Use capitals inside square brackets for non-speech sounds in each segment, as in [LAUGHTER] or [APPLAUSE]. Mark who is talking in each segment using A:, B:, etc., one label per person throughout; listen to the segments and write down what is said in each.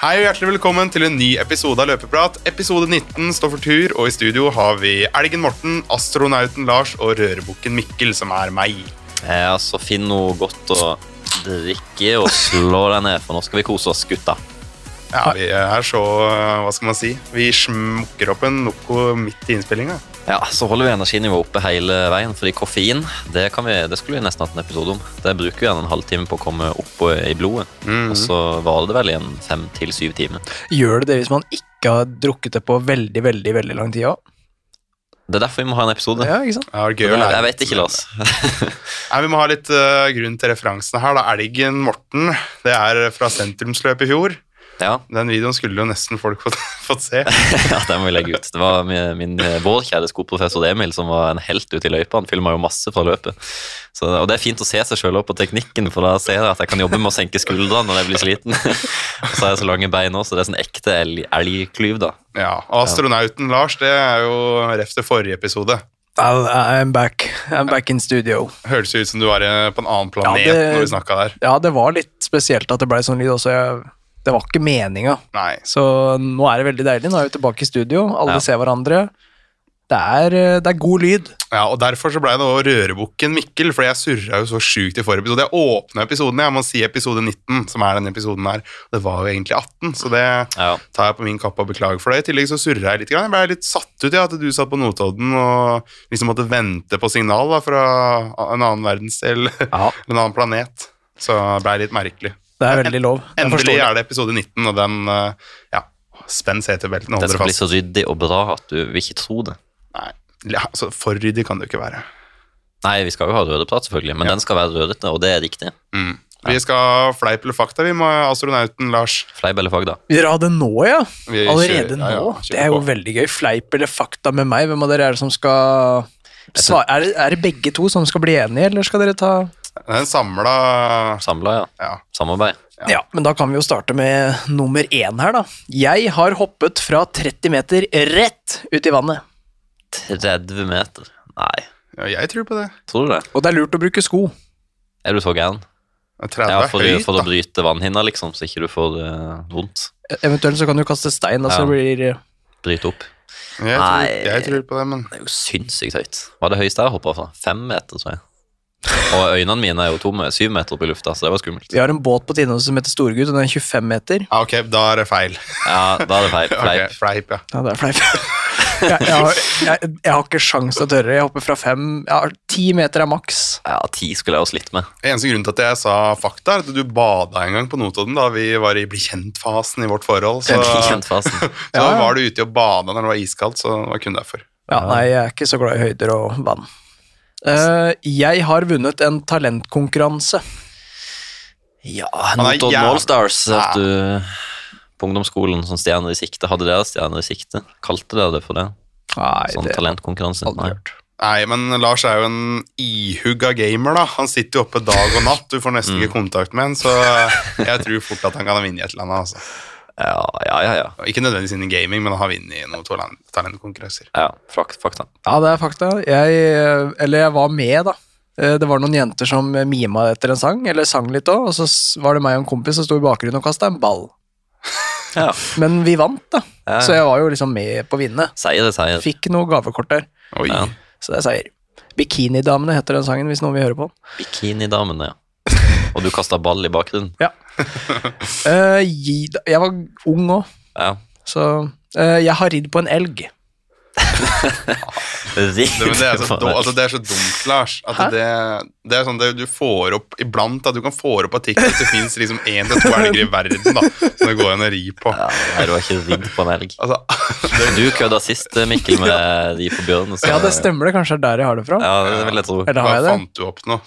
A: Hei og hjertelig velkommen til en ny episode av Løpeprat. Episode 19 står for tur, og i studio har vi Elgen Morten, astronauten Lars og rørebukken Mikkel, som er meg.
B: Eh, altså, finn noe godt å drikke og slå deg ned, for nå skal vi kose oss, gutta.
A: Ja, vi er så eh, Hva skal man si? Vi smukker opp en Noco midt i innspillinga.
B: Ja, Så holder vi energinivået oppe hele veien, fordi koffein det, kan vi, det skulle vi nesten hatt en episode om. Det bruker vi gjerne en halvtime på å komme opp og- i blodet,
A: Mhm.
B: og så varer det vel i en fem til syv timer.
C: Gjør det det hvis man ikke har drukket det på veldig, veldig veldig lang tid òg?
B: Det er derfor vi må ha en episode.
C: Ja, ikke sant?
A: Ja, det er gøy å lære.
B: Jeg vet ikke, Lars.
A: Nei, vi må ha litt eh, grunn til referansene her. da. Elgen Morten, det er fra sentrumsløpet i fjor.
B: ja,
A: Den videoen skulle jo nesten folk [LAUGHS] fått, fått se.
B: ja, den må vi legge ut. Det var min, min, vår kjære skoprofessor Emil som var en helt ute i løypa. Han filma jo masse fra løpet. Så, og det er fint å se seg sjøl opp på teknikken, for da ser jeg at jeg kan jobbe med å senke skuldrene når jeg blir sliten. [LAUGHS] og så har jeg så lange bein òg, så det er sånn ekte elg, elgklyv, da.
A: Ja, og Astronauten Lars, det er jo ref til forrige episode.
C: I'll- I'm back. I'm back in studio.
A: Hørtes jo ut som du var eh, på en annen planet
C: Ja, det-
A: når vi snakka der.
C: Ja, det var litt spesielt at det blei sånn lyd også. Jeg, det var ikke meninga.
A: Nei.
C: Så nå er det veldig deilig. Nå er vi tilbake i studio. Alle
B: Ja.
C: ser hverandre. Det er, eh, det er god lyd.
A: Ja, og Derfor så ble det også rørebukken Mikkel, fordi jeg surra jo så sjukt i forrige episode. Jeg åpna episoden, jeg må si episode 19, som er denne episoden her. Og Det var jo egentlig 18, så det
B: Ja.
A: tar jeg på min kappe og beklager for det. I tillegg så surra jeg litt. grann. Jeg ble litt satt ut i at du satt på Notodden og liksom måtte vente på signal da, fra en annen verdensdel,
C: Ja.
A: [LAUGHS] en annen planet. Så det ble litt merkelig.
C: Det er veldig lov. Jeg
A: Endelig
C: forstår det.
A: er det episode 19, og den eh, Ja, spenn setebeltene,
B: Det
A: hold dere
B: skal bli
A: fast.
B: så ryddig og bra at du vil ikke tro det.
A: Nei, ja, altså, for ryddig kan det jo ikke være.
B: Nei, vi skal jo ha rødeprat, selvfølgelig, men den skal være rødete, og det er riktig.
A: Mm. Vi skal ha fleip eller fakta, vi, med astronauten Lars.
B: Fleip eller fag, da.
C: Vi dere har det nå, ja?
A: Vi
C: Allerede
A: kjører- ja, ja,
C: nå?
A: kjører
C: Det er jo
A: på.
C: veldig gøy. Fleip eller fakta med meg? Hvem av dere er det som skal svare? Er det, er det begge to som skal bli enige, eller skal dere ta
A: Det er en samla
B: Samla, ja.
A: ja.
B: Samarbeid.
A: Ja.
C: Ja. men da kan vi jo starte med nummer én her, da. Jeg har hoppet fra 30 meter rett ut i vannet.
B: 30 meter. Nei,
A: ja, jeg tror på det.
B: tror du det?
C: Og det er lurt å bruke sko.
B: Er du så gæren?
A: 30
B: Ja,
A: er
B: for,
A: høyt,
B: for å
A: da.
B: bryte vannhinna, liksom, så ikke du får eh, vondt.
C: E- Eventuelt så kan du kaste stein, da, så
B: Ja.
C: blir
B: Bryte opp.
A: Jeg tror,
B: Nei.
A: jeg tror på det, men
B: Det er jo sinnssykt høyt. Hva er det høyeste jeg har hoppa fra? Fem meter, tror jeg. Og øynene mine er jo tomme. Syv meter opp i lufta, så det var skummelt.
C: Vi har en båt på Tinås som heter Storgutt, og den er 25 meter.
A: ja, Ok, da er det feil. [LAUGHS]
B: Ja, da er det [LAUGHS] feil.
A: Ok,
B: Fleip.
A: fleip, ja.
C: Ja, det er fleip. [LAUGHS] Jeg, jeg, har- jeg, jeg har ikke sjans til å tørre. Jeg hopper fra fem ja, Ti meter er maks.
B: Ja, ti skulle jeg jo slitt med.
A: Eneste grunnen til at jeg sa fakta, er at du bada en gang på Notodden da vi var i bli kjent-fasen i vårt forhold. Så,
B: Den
A: så
B: kjentfasen.
C: Ja, ja.
A: var du ute og bada når det var iskaldt, så det var kun derfor.
C: Ja, nei, jeg er ikke så glad i høyder og vann. Eh, jeg har vunnet en talentkonkurranse.
B: [LAUGHS] Ja,
A: er
B: Notodden
A: jæv-
B: Allstars, vet du. På ungdomsskolen som Stjerner i sikte. Hadde dere Stjerner i sikte? Kalte dere det for det?
C: Nei,
B: Sånn
C: det har
B: talentkonkurranse?
C: jeg
B: Nei.
C: aldri hørt.
A: Nei, men Lars er jo en ihugga gamer, da. Han sitter jo oppe dag og natt, du får nesten
B: Mm.
A: ikke kontakt med han, så jeg tror fort at han kan ha vunnet et eller annet. altså.
B: Ja, ja, ja. ja.
A: Og Ikke nødvendigvis innen gaming, men han har vunnet noen talen- talentkonkurranser.
B: ja fakt, fakta.
C: Ja, det er fakta. Jeg, eh, eller jeg var med, da. Eh, Det var noen jenter som mima etter en sang, eller sang litt òg, og så s- var det meg og en kompis som sto i bakgrunnen og kasta en ball.
B: Ja.
C: Men vi vant, da.
B: Ja.
C: Så jeg var jo liksom med på å vinne.
B: Seier er seier.
C: Fikk noe gavekort der,
A: Oi.
B: Ja.
C: så det er seier. Bikinidamene heter den sangen, hvis noen vil høre på den.
B: Bikinidamene, ja. Og du kasta ball i bakgrunnen.
C: Eh, gi- jeg var ung òg,
B: Ja.
C: så eh, Jeg har ridd på en elg.
A: Det, men det, er
B: [LAUGHS]
A: så, dum- altså, det er så dumt, Lars. At det, det er sånn det, du får opp iblant at du kan få opp av TikTok det fins liksom én til to elger i verden da, som det går an å ri på.
B: Ja, nei, du har ikke ridd på en elg.
A: Altså, [LAUGHS]
B: Du kødda sist, eh, Mikkel, med de på bjørn. så-
C: Ja, det stemmer det. Kanskje det er der jeg har det fra.
B: Ja, det vil jeg tro.
C: Eller
A: hva
C: har jeg det?
A: fant du opp nå?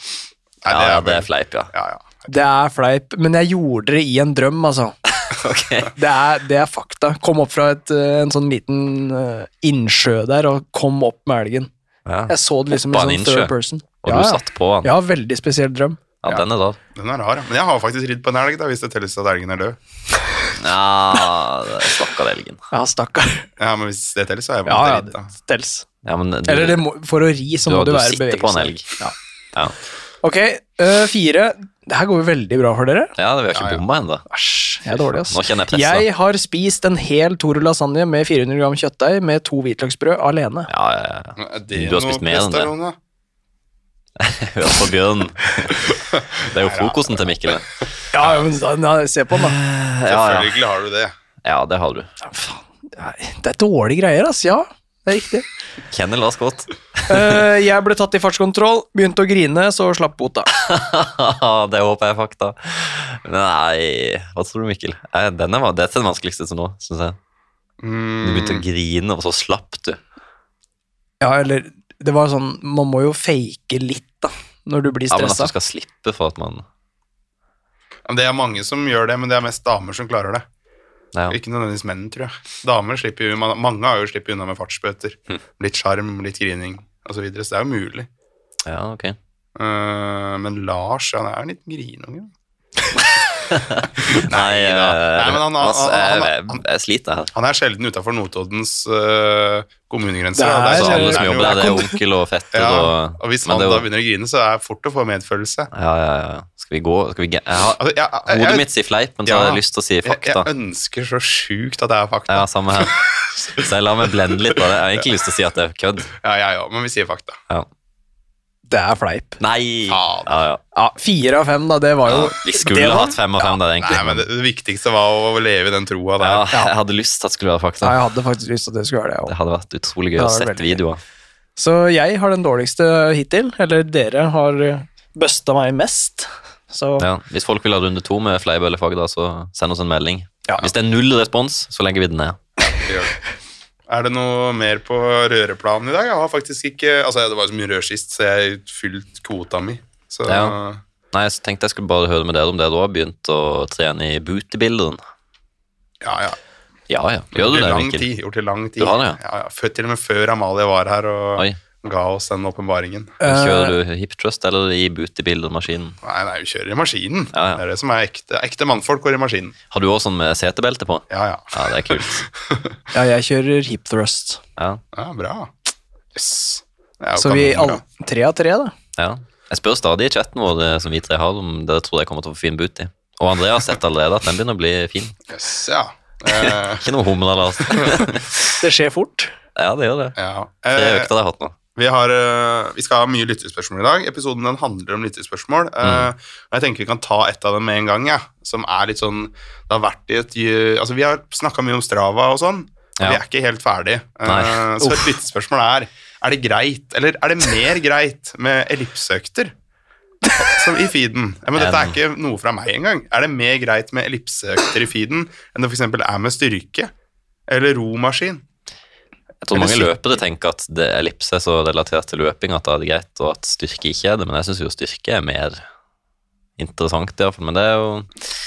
A: Nei,
B: Ja, det er
A: vel-
B: fleip, ja.
A: Ja, ja.
C: Det er fleip, men jeg gjorde det i en drøm, altså.
B: [LAUGHS] Ok.
C: Det er, det er fakta. Kom opp fra et, eh, en sånn liten eh, innsjø der, og kom opp med elgen.
B: Ja.
C: Jeg så det liksom i
B: Oppa en
C: sånn
B: innsjø?
C: third person.
B: Og
C: ja,
B: du
C: ja.
B: satt på han.
C: Ja, veldig spesiell drøm.
B: Ja, den er da.
A: Den er rar. ja. Men jeg har faktisk ridd på en elg, da, hvis det telles at elgen er død.
B: Ja, det- stakkar elgen. [LAUGHS]
C: Ja, stakkar.
A: Ja, men hvis det telles, så er jeg på
C: Ja,
A: en måte
C: ja,
A: ridd, da.
C: det stels.
B: Ja, men du,
C: Eller det må, for å ri, så
B: du,
C: må
B: du
C: du, være i
B: sitter på en
C: bevegelse.
B: elg. Ja.
C: Ok, eh, fire. Det her går jo veldig bra for dere.
B: Ja, vi har
A: Ja,
B: ikke
A: ja.
B: bomma ennå.
C: Æsj, jeg er dårlig, ass.
B: Nå kjenner jeg presset.
C: Jeg har spist en hel Toro lasagne med 400 gram kjøttdeig med to hvitløksbrød alene.
B: Ja, ja, ja.
A: Men Er det
B: eh, Du har spist
A: noe
B: mer enn det.
A: testosteron, da?
B: Hør på [LAUGHS] Bjørn. Det er jo frokosten til Mikkel. det.
C: Ja, ja, men da, nei, se på den, da.
B: Ja, ja.
A: Selvfølgelig har du det.
B: ja, det har du.
C: Nei, Det er dårlige greier, ass. Ja, det er riktig.
B: Kennel var skott.
C: Eh, jeg ble tatt i fartskontroll, begynte å grine, så slapp bota.
B: [LAUGHS] det håper jeg er fakta. Nei, hva tror du, Mikkel? Eh, Denne var, dette er den vanskeligste til nå, syns jeg. Du begynte å
A: Mm,
B: grine, og så slapp du.
C: Ja, eller Det var sånn Man må jo fake litt, da, når du blir
B: Ja, men altså, at
C: stressa.
B: du skal slippe for at man
A: men det er mange som gjør det, men det er mest damer som klarer det.
B: Nei, ja.
A: Ikke nødvendigvis menn, tror jeg. Damer slipper jo, man- Mange har jo sluppet unna med fartsbøter.
B: Hm.
A: Litt sjarm, litt grining osv. Så, videre, så det er jo mulig.
B: ja, ok.
A: Eh, men Lars, ja, han er en liten grinunge.
B: Nei, eh,
A: Nei, men han- han-
B: altså,
A: han-
B: jeg,
A: han-
B: jeg, jeg sliter her.
A: Han er sjelden utafor Notoddens eh, kommunegrenser. og
C: Det er-
B: Altså,
A: så-
B: alle som
A: er
B: jobber
A: noe-
B: der, det er onkel og fetter
A: Ja,
B: og
A: og hvis
B: men
A: han
B: det er
A: da
B: jo-
A: begynner å grine, så er det fort å få medfølelse.
B: Ja, ja, ja. Skal vi gå? Skal vi ge- jeg har,
A: Altså, jeg, jeg,
B: hodet
A: jeg,
B: mitt sier fleip, men så har
A: Ja.
B: jeg lyst til å si
A: jeg, jeg
B: fakta.
A: ønsker så sjukt at det er fakta.
B: Ja, samme
A: [LAUGHS]
B: her. Så jeg lar meg blende litt av det. Jeg har egentlig lyst til å si at det er kødd.
A: Ja, ja, ja, men vi sier fakta.
B: Ja.
C: Det er fleip.
B: Nei!
A: Faen.
B: Ja, ja.
C: Ja, Fire av fem, da. Det var
B: Ja,
C: jo
B: vi
C: det
B: skulle
C: var-
B: hatt fem av fem der, egentlig.
A: Nei, men det, det viktigste var å leve i den troa der.
B: ja, jeg hadde lyst til at det skulle være
C: Ja,
B: fakta.
C: jeg hadde faktisk lyst til at det skulle være det.
B: Det
C: også.
B: hadde vært utrolig gøy å
C: Ja, det var
B: sett
C: veldig gøy.
B: videoer.
C: Så jeg har den dårligste hittil. Eller dere har eh, busta meg mest. Så
B: Ja. Hvis folk vil ha runde to med fleip eller fagda, så send oss en melding.
C: Ja.
B: Hvis det er null respons, så legger vi den ned.
A: Det gjør det. Er det noe mer på røreplanen i dag? Jeg har faktisk ikke Altså, det var jo så mye rør sist, så jeg fylt kvota mi. Så
B: Ja. Nei, jeg tenkte jeg skulle bare høre med dere om dere har begynt å trene i bootybilderen.
A: ja, ja.
B: Ja, ja. Gjør
A: Gjort
B: du
A: i
B: det,
A: lang
B: Mikkel?
A: tid. Gjort i lang tid.
B: Du har det, ja.
A: Ja, ja. Før, til og med før Amalie var her og
B: Oi.
A: ga oss den åpenbaringen.
C: eh,
B: Kjører du hip thrust eller i bootybilderen-maskinen?
A: Nei, nei, vi kjører i maskinen.
B: Ja, ja.
A: Det er det som er ekte. Ekte mannfolk går i maskinen.
B: Har du også sånn med setebelte på?
A: Ja, ja.
B: Ja, det er kult.
C: ja, jeg kjører hip thrust.
B: Ja,
A: ja bra. Yes. Det er jo
C: Så vi
A: kanonbra.
C: alle Tre av tre, da.
B: ja. Jeg spør stadig i chatten vår eh, som vi tre har, om dere tror jeg kommer til å få fin booty. Og Andrea har sett allerede at den begynner å bli fin.
A: Yes, ja.
B: [LAUGHS]
A: Eh,
B: Ikke noe humle,
A: [LAUGHS]
B: Lars.
C: Det skjer fort.
B: Ja, det gjør det.
A: ja.
B: Det er
A: Eh,
B: økta jeg har hatt nå.
A: Vi, har, øh, vi skal ha mye lyttespørsmål i dag. Episoden den handler om lyttespørsmål. Eh,
B: Mm.
A: og jeg tenker vi kan ta et av dem med en gang. Ja, som er litt sånn, det har vært i et, ju- altså Vi har snakka mye om Strava og sånn. men
B: Ja.
A: Vi er ikke helt ferdig. Eh,
B: Nei.
A: så et lyttespørsmål er er det greit, eller er det mer greit med ellipseøkter som i feeden? Ja, men dette er ikke noe fra meg engang. Er det mer greit med ellipseøkter i feeden enn det for eksempel er med styrke? Eller romaskin?
B: Jeg tror
A: Eller
B: mange
A: sykkel.
B: løpere tenker at det ellipse er så relatert til løping at det er greit, og at styrke ikke er det, men jeg syns jo styrke er mer interessant, iallfall. Men det er jo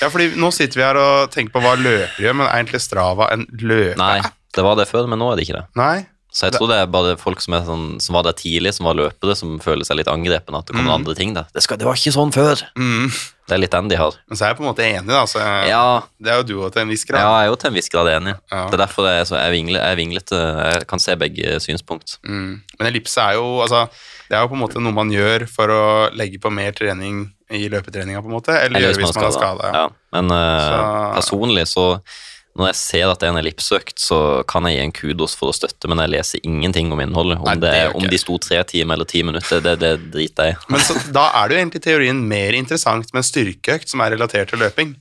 A: Ja, fordi nå sitter vi her og tenker på hva løpere gjør, men er egentlig Strava en løper?
B: Nei, det var det før, men nå er det ikke det.
A: Nei?
B: Så jeg tror det er bare folk som, er sånn, som var der tidlig, som var løpere, som føler seg litt angrepne. At det kommer
A: Mm.
B: andre ting der. Det, skal, det var ikke sånn før!
A: Mm.
B: Det er litt den de har.
A: Men så er jeg på en måte enig, da. Så jeg,
B: Ja,
A: Det er jo du òg til en viss
B: ja,
A: grad.
B: jeg er jo til en viss grad enig.
A: Ja.
B: Det er derfor jeg er, så, jeg, vingler, jeg er vinglete. Jeg kan se begge eh, synspunkt.
A: Mm. Men ellipse er jo altså, Det er jo på en måte noe man gjør for å legge på mer trening i løpetreninga, på en måte. Eller,
B: Eller
A: gjør hvis man er skada. Ja.
B: Ja. Men eh,
A: Så-
B: personlig så når jeg ser at det er en ellipsøkt, så kan jeg gi en kudos for å støtte, men jeg leser ingenting om innholdet. Om,
A: Nei,
B: det,
A: det gjør
B: er- om
A: ikke
B: de sto tre timer eller ti minutter, det, det driter jeg i.
A: Men så, da er det jo egentlig i teorien mer interessant med en styrkeøkt som er relatert til løping.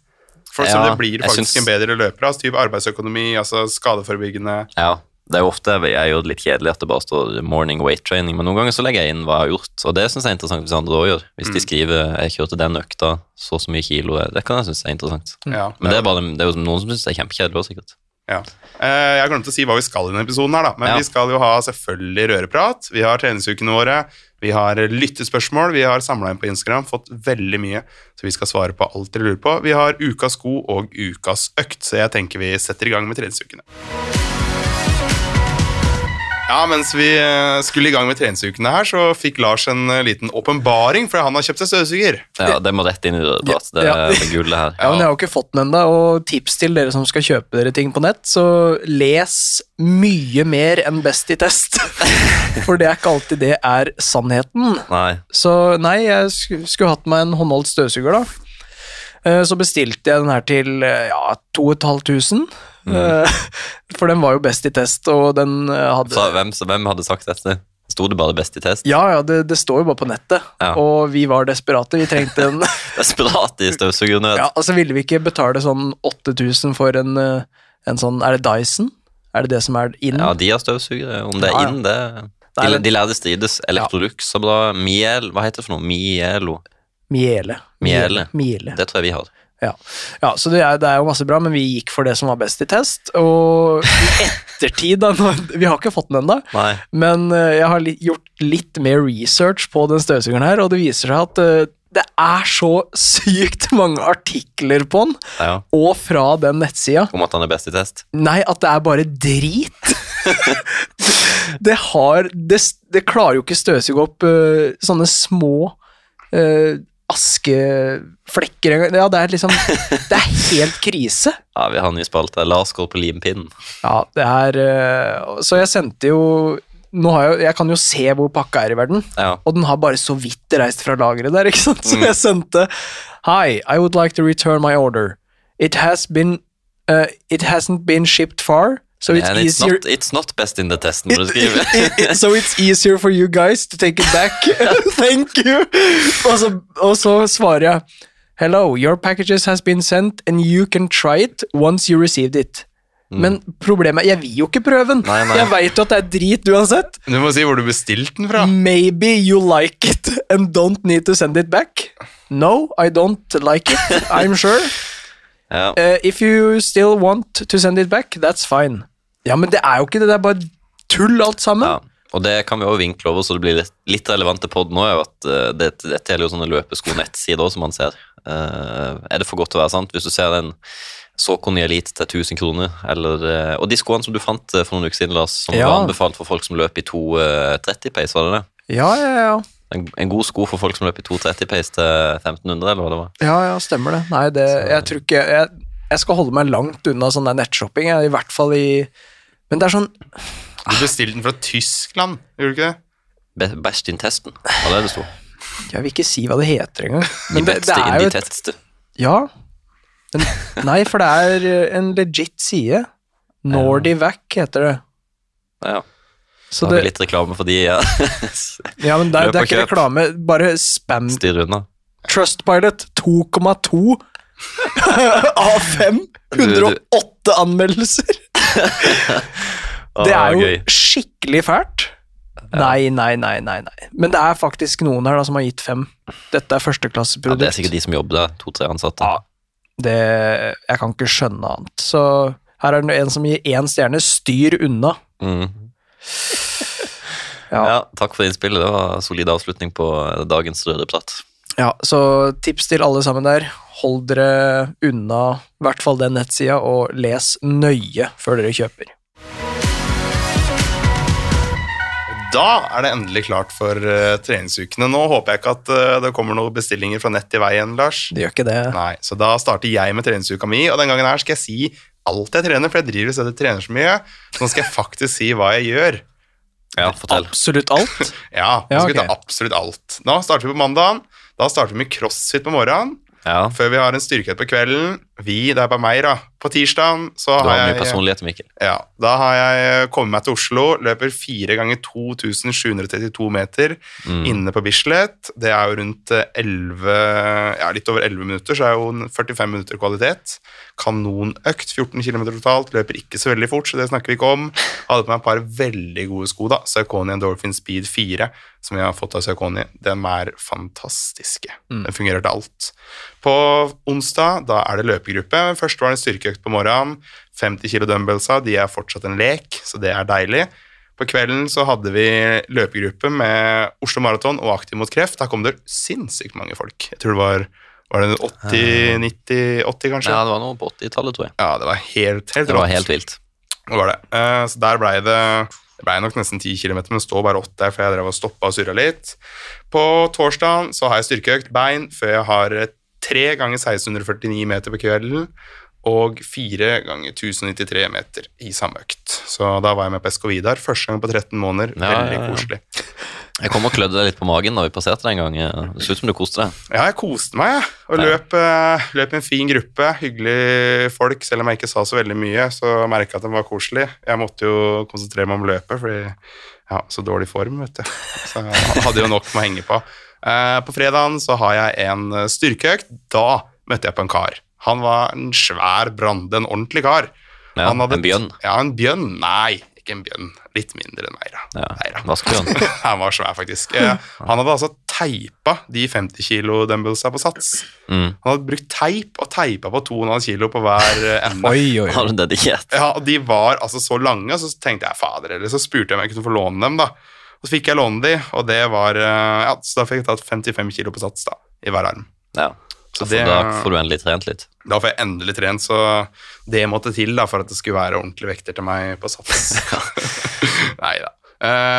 A: For som
B: Ja,
A: det blir
B: jeg
A: faktisk
B: syns-
A: en bedre løper av. Typ arbeidsøkonomi, altså skadeforebyggende.
B: [LAUGHS] Ja, det er jo ofte jeg gjør det litt kjedelig at det bare står morning weight training, men noen ganger så legger jeg inn hva jeg har gjort, og det syns jeg er interessant hvis andre òg gjør. Hvis
A: Mm.
B: de skriver 'jeg kjørte den økta, så og så mye kilo', det kan jeg synes er interessant.
A: Ja,
B: Mm. Men det er, bare, det er jo noen som syns det er kjempekjedelig òg, sikkert.
A: Ja. Eh, Jeg glemte å si hva vi skal i denne episoden, her da. men
B: Ja.
A: vi skal jo ha selvfølgelig røreprat. Vi har treningsukene våre, vi har lyttespørsmål, vi har samla inn på Instagram, fått veldig mye, så vi skal svare på alt dere lurer på. Vi har ukas sko og ukas økt, så jeg tenker vi setter i gang med treningsukene. Ja, Mens vi eh, skulle i gang med treningsukene her, så fikk Lars en eh, liten åpenbaring, for han har kjøpt seg støvsuger.
B: Ja, det må rett inn i rød prat. Det
C: Ja.
B: er det gullet her.
C: Ja, men jeg har jo ikke fått den ennå. Og tips til dere som skal kjøpe dere ting på nett, så les mye mer enn Best i test. For det er ikke alltid det er sannheten.
B: Nei.
C: Så nei, jeg sk- skulle hatt meg en håndholdt støvsuger, da. Eh, Så bestilte jeg den her til eh, ja, 2500. Eh, [LAUGHS] For den var jo best i test, og den eh, hadde
B: Så hvem, så hvem hadde sagt dette? Sto det bare 'best i test'?
C: Ja, ja, det, det står jo bare på nettet,
B: Ja.
C: og vi var desperate. Vi trengte en
B: Desperat i støvsugernød.
C: Ja, altså ville vi ikke betale sånn 8000 for en, eh, en sånn Er det Dyson? Er det det som er inn?
B: Ja, de har støvsugere. Om det
C: Ja,
B: er
C: ja.
B: inn, det
C: Nei,
B: De,
C: men-
B: de lærde strides. Electrolux er bra. Miel Hva heter det for noe? Mielo.
C: Miele.
B: Miele.
C: Miele.
B: Det tror jeg vi har.
C: Ja. ja, så det er, det er jo masse bra, men vi gikk for det som var best i test. Og i
B: [LAUGHS]
C: ettertid, da nå- Vi har ikke fått den ennå,
B: Nei.
C: men eh, jeg har li gjort litt mer research på den støvsugeren her, og det viser seg at eh, det er så sykt mange artikler på den,
B: Ja.
C: og fra den nettsida.
B: Om at han er best i test.
C: Nei, at det er bare [LAUGHS] drit. det har det, det klarer jo ikke støvsuge opp øh, sånne små øh, askeflekker engang. Ja, det er liksom Det er helt krise.
B: Ja, vi har en ny spalte. Lars går på limpinnen.
C: Ja, det er øh, Så jeg sendte jo Nå har jeg, jeg kan jo se hvor pakka er i verden.
B: Ja.
C: Og den har bare så vidt reist fra lageret der, ikke sant? Så jeg sendte Hi, I would like to return my order. It has been uh, It hasn't been shipped far, so it's
B: And it's,
C: easier
B: not, it's not best in the test, må du skrive.
C: [LAUGHS] So it's easier for you guys to take it back. [LAUGHS] Thank you. Og så, og så svarer jeg Hello, your packages has been sent and you can try it once you received it. Men problemet er, jeg vil jo ikke prøve den.
B: Mm. Nei, nei.
C: Jeg veit jo at det er drit uansett.
A: Du må si hvor du bestilte den
C: Mm.
A: fra.
C: Maybe you like it and don't need to send it back. No, I don't like it, I'm sure. [LAUGHS]
B: Ja.
C: Eh, if you still want to send it back, that's fine. Ja, men det er jo ikke det, det er bare tull alt sammen.
B: Ja. Og det kan vi også vinkle over, så det blir litt, litt relevant til podden òg. At eh, det, dette gjelder jo sånne løpesko-nettsider også, som man ser. Eh, er det for godt til å være sant? Hvis du ser en Såkon Elite til 1000 kroner, eller eh, Og de skoene som du fant eh, for noen uker siden, Lars, som
C: Ja.
B: var anbefalt for folk som løp i 230 pace, var det det?
C: Ja, ja, ja.
B: En, en god sko for folk som løp i 230 pace til 1500, eller hva det var.
C: Ja, ja, stemmer det. Nei, det, jeg tror ikke jeg, jeg skal holde meg langt unna sånn der nettshopping, jeg, i hvert fall i Men det er sånn
A: Du bestilte den fra Tyskland, gjorde du ikke det?
B: Be- Best in testen, var det det sto.
C: Jeg vil ikke si hva det
B: [LAUGHS]
C: heter engang.
B: De
C: Men det, det
B: beste
C: er
B: in
C: jo
B: de
C: et
B: testeste.
C: Ja. Den, nei, for det er eh, en legit side. Nordivac heter det.
B: Ja,
C: Så
B: da har vi
C: det,
B: litt reklame for de ja. [LAUGHS]
C: ja, men det, er- det er
B: Løp og
C: ikke
B: kjøp.
C: reklame. Bare spam.
B: styr unna.
C: Trustpilot [LAUGHS] 2,2 av 5.
B: Du- du-
C: 108 anmeldelser.
B: Å,
C: Det er jo
B: gøy.
C: skikkelig fælt. Nei, nei, nei, nei, nei. Men det er faktisk noen her da som har gitt fem. Dette er
B: Ja, det er
C: førsteklasseprodukt.
B: sikkert de som jobber der, to-tre ansatte.
C: Ja. det, jeg kan ikke skjønne annet. Så her er det en som gir én stjerne. Styr unna.
B: Mm.
C: Ja.
B: Ja. takk for innspillet. Det var en solid avslutning på eh, dagens røde prat.
C: Ja, så tips til alle sammen der. Hold dere unna i hvert fall den nettsida, og les nøye før dere kjøper.
A: Da er det endelig klart for eh, treningsukene. Nå håper jeg ikke at eh, det kommer noen bestillinger fra nett i veien, Lars.
C: Det gjør ikke det.
A: Nei, så da starter jeg med treningsuka mi, og den gangen her skal jeg si alt jeg trener, for jeg driver og setter trener så mye. Så nå skal jeg faktisk si hva jeg gjør.
B: Ja, fortell.
C: Absolutt alt.
B: [LAUGHS]
A: Ja, nå
C: Ja,
A: skal vi
C: ok.
A: ta absolutt alt. Nå starter vi på mandagen. Da starter vi med crossfit på morgenen,
B: Ja,
A: før vi har en styrkeøkt på kvelden. Vi, det er bare meg, da. På tirsdagen så
B: du har
A: har
B: mye
A: jeg
B: personlighet, Mikkel.
A: Ja, da har jeg eh, kommet meg til Oslo, løper 4 ganger 2732 meter inne på Bislett. Det er jo rundt eh, 11, ja, litt over 11 minutter, så er jo en 45 minutter kvalitet. Kanonøkt, 14 km totalt, løper ikke så veldig fort, så det snakker vi ikke om. Hadde på meg et par veldig gode sko, da. Saucony Endorphin Speed 4, som jeg har fått av Saucony. Den er fantastiske. Den fungerer til alt. På onsdag da er det løpegruppe. Først var det en styrkeøkt på morgenen. 50 kilo dumbbellsa, de er fortsatt en lek, så det er deilig. På kvelden så hadde vi løpegruppe med Oslo Maraton og Aktiv mot kreft. Da kom det sinnssykt mange folk. Jeg tror det var, var det 80-90-80, kanskje? Eh. Ja.
B: Ja, det var noe på 80-tallet, tror jeg.
A: det var helt, helt
B: Det var
A: rått.
B: helt vilt.
A: Det var det. Eh, så der blei det Det ble nok nesten 10 km, men det står bare 8 der, for jeg drev og stoppa og surra litt. På torsdagen så har jeg styrkeøkt bein før jeg har 3 ganger 1649 meter på kvelden og 4 ganger 1093 meter i samme økt. Så da var jeg med på SK Vidar første gang på 13 måneder.
B: Ja, ja, ja.
A: Veldig koselig.
B: Jeg kom og klødde deg litt på magen da vi passerte deg en gang. Det ser ut som du koste deg.
A: Ja, jeg koste meg, jeg. Og
B: Ja.
A: løp, eh, løp med en fin gruppe. Hyggelige folk. Selv om jeg ikke sa så veldig mye, så merka jeg at de var koselige. Jeg måtte jo konsentrere meg om løpet, fordi jeg har så dårlig form, vet du. Så jeg hadde jo nok med å henge på. Eh, På fredagen så har jeg en eh, styrkeøkt. Da møtte jeg på en kar. Han var en svær brande, en ordentlig kar.
B: Ja,
A: Han hadde-
B: en bjønn.
A: Ja, en bjønn. Nei, ikke en bjønn. Litt mindre enn meg, da.
B: Ja,
A: Nei da.
B: Vaskebjørn.
A: [LAUGHS] Han var svær, faktisk. Eh, Han hadde altså teipa de 50 kilo dumbbellsa på sats.
B: Mm.
A: Han hadde brukt teip og teipa på 2,5 kilo på hver
B: [LAUGHS]
A: eh, ende.
C: Oi, oi.
B: Har du dedikert?
A: Ja, og De var altså så lange, og så tenkte jeg fader, eller så spurte jeg om jeg kunne få låne dem. da. Og Så fikk jeg låne de, og det var eh, ja, Så da fikk jeg tatt 55 kilo på sats da, i hver arm.
B: Ja.
A: Så
B: Så
A: det-
B: Da får du endelig trent litt.
A: Da får jeg endelig trent, så det måtte til da, for at det skulle være ordentlige vekter til meg på
B: [LAUGHS]
A: sats. [LAUGHS] Nei da.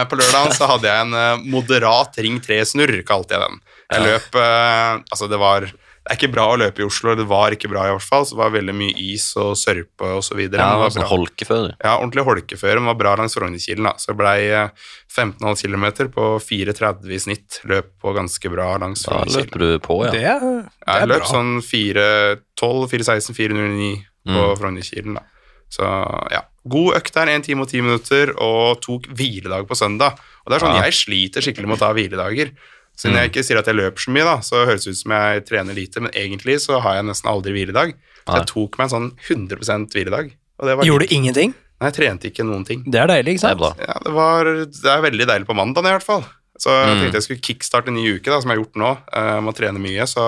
A: på lørdagen så hadde jeg en eh, moderat ring 3-snurr, kalte jeg den. Jeg løp eh, Altså, det var Det er ikke bra å løpe i Oslo, det var ikke bra i hvert fall. Så det var veldig mye is og sørpe og så videre. men
B: Ja,
A: det var
B: sånn
A: bra.
B: holkefører.
A: Ja, ordentlig holkeføre, men var bra langs Frognerkilen. da. Så det blei eh, 15,5 km på 4,30 i snitt. Løp på ganske bra langs
B: Da
A: Frognerkilen.
B: løper du på, ja.
C: Det er, det
A: Jeg
C: er
A: løp
C: bra.
A: sånn 4.12, 4.16, 4.09 på
B: Mm.
A: Frognerkilen. da. Så ja, God økt der, 1 time og 10 minutter, og tok hviledag på søndag. Og det er sånn,
B: Ja.
A: Jeg sliter skikkelig med å ta hviledager. Så når
B: Mm.
A: jeg ikke sier at jeg løper så mye, da, så høres det ut som jeg trener lite, men egentlig så har jeg nesten aldri hviledag. Så
B: Nei.
A: jeg tok meg en sånn 100 hviledag. Og det var
C: Gjorde du ingenting?
A: Nei, jeg trente ikke noen ting.
C: Det er deilig, ikke
B: Det er
C: sant?
B: bra.
A: Ja, det, var, det er veldig deilig på mandagen i hvert fall. Så jeg
B: Mm.
A: tenkte jeg skulle kickstarte en ny uke, da, som jeg har gjort nå. Eh, må trene mye, så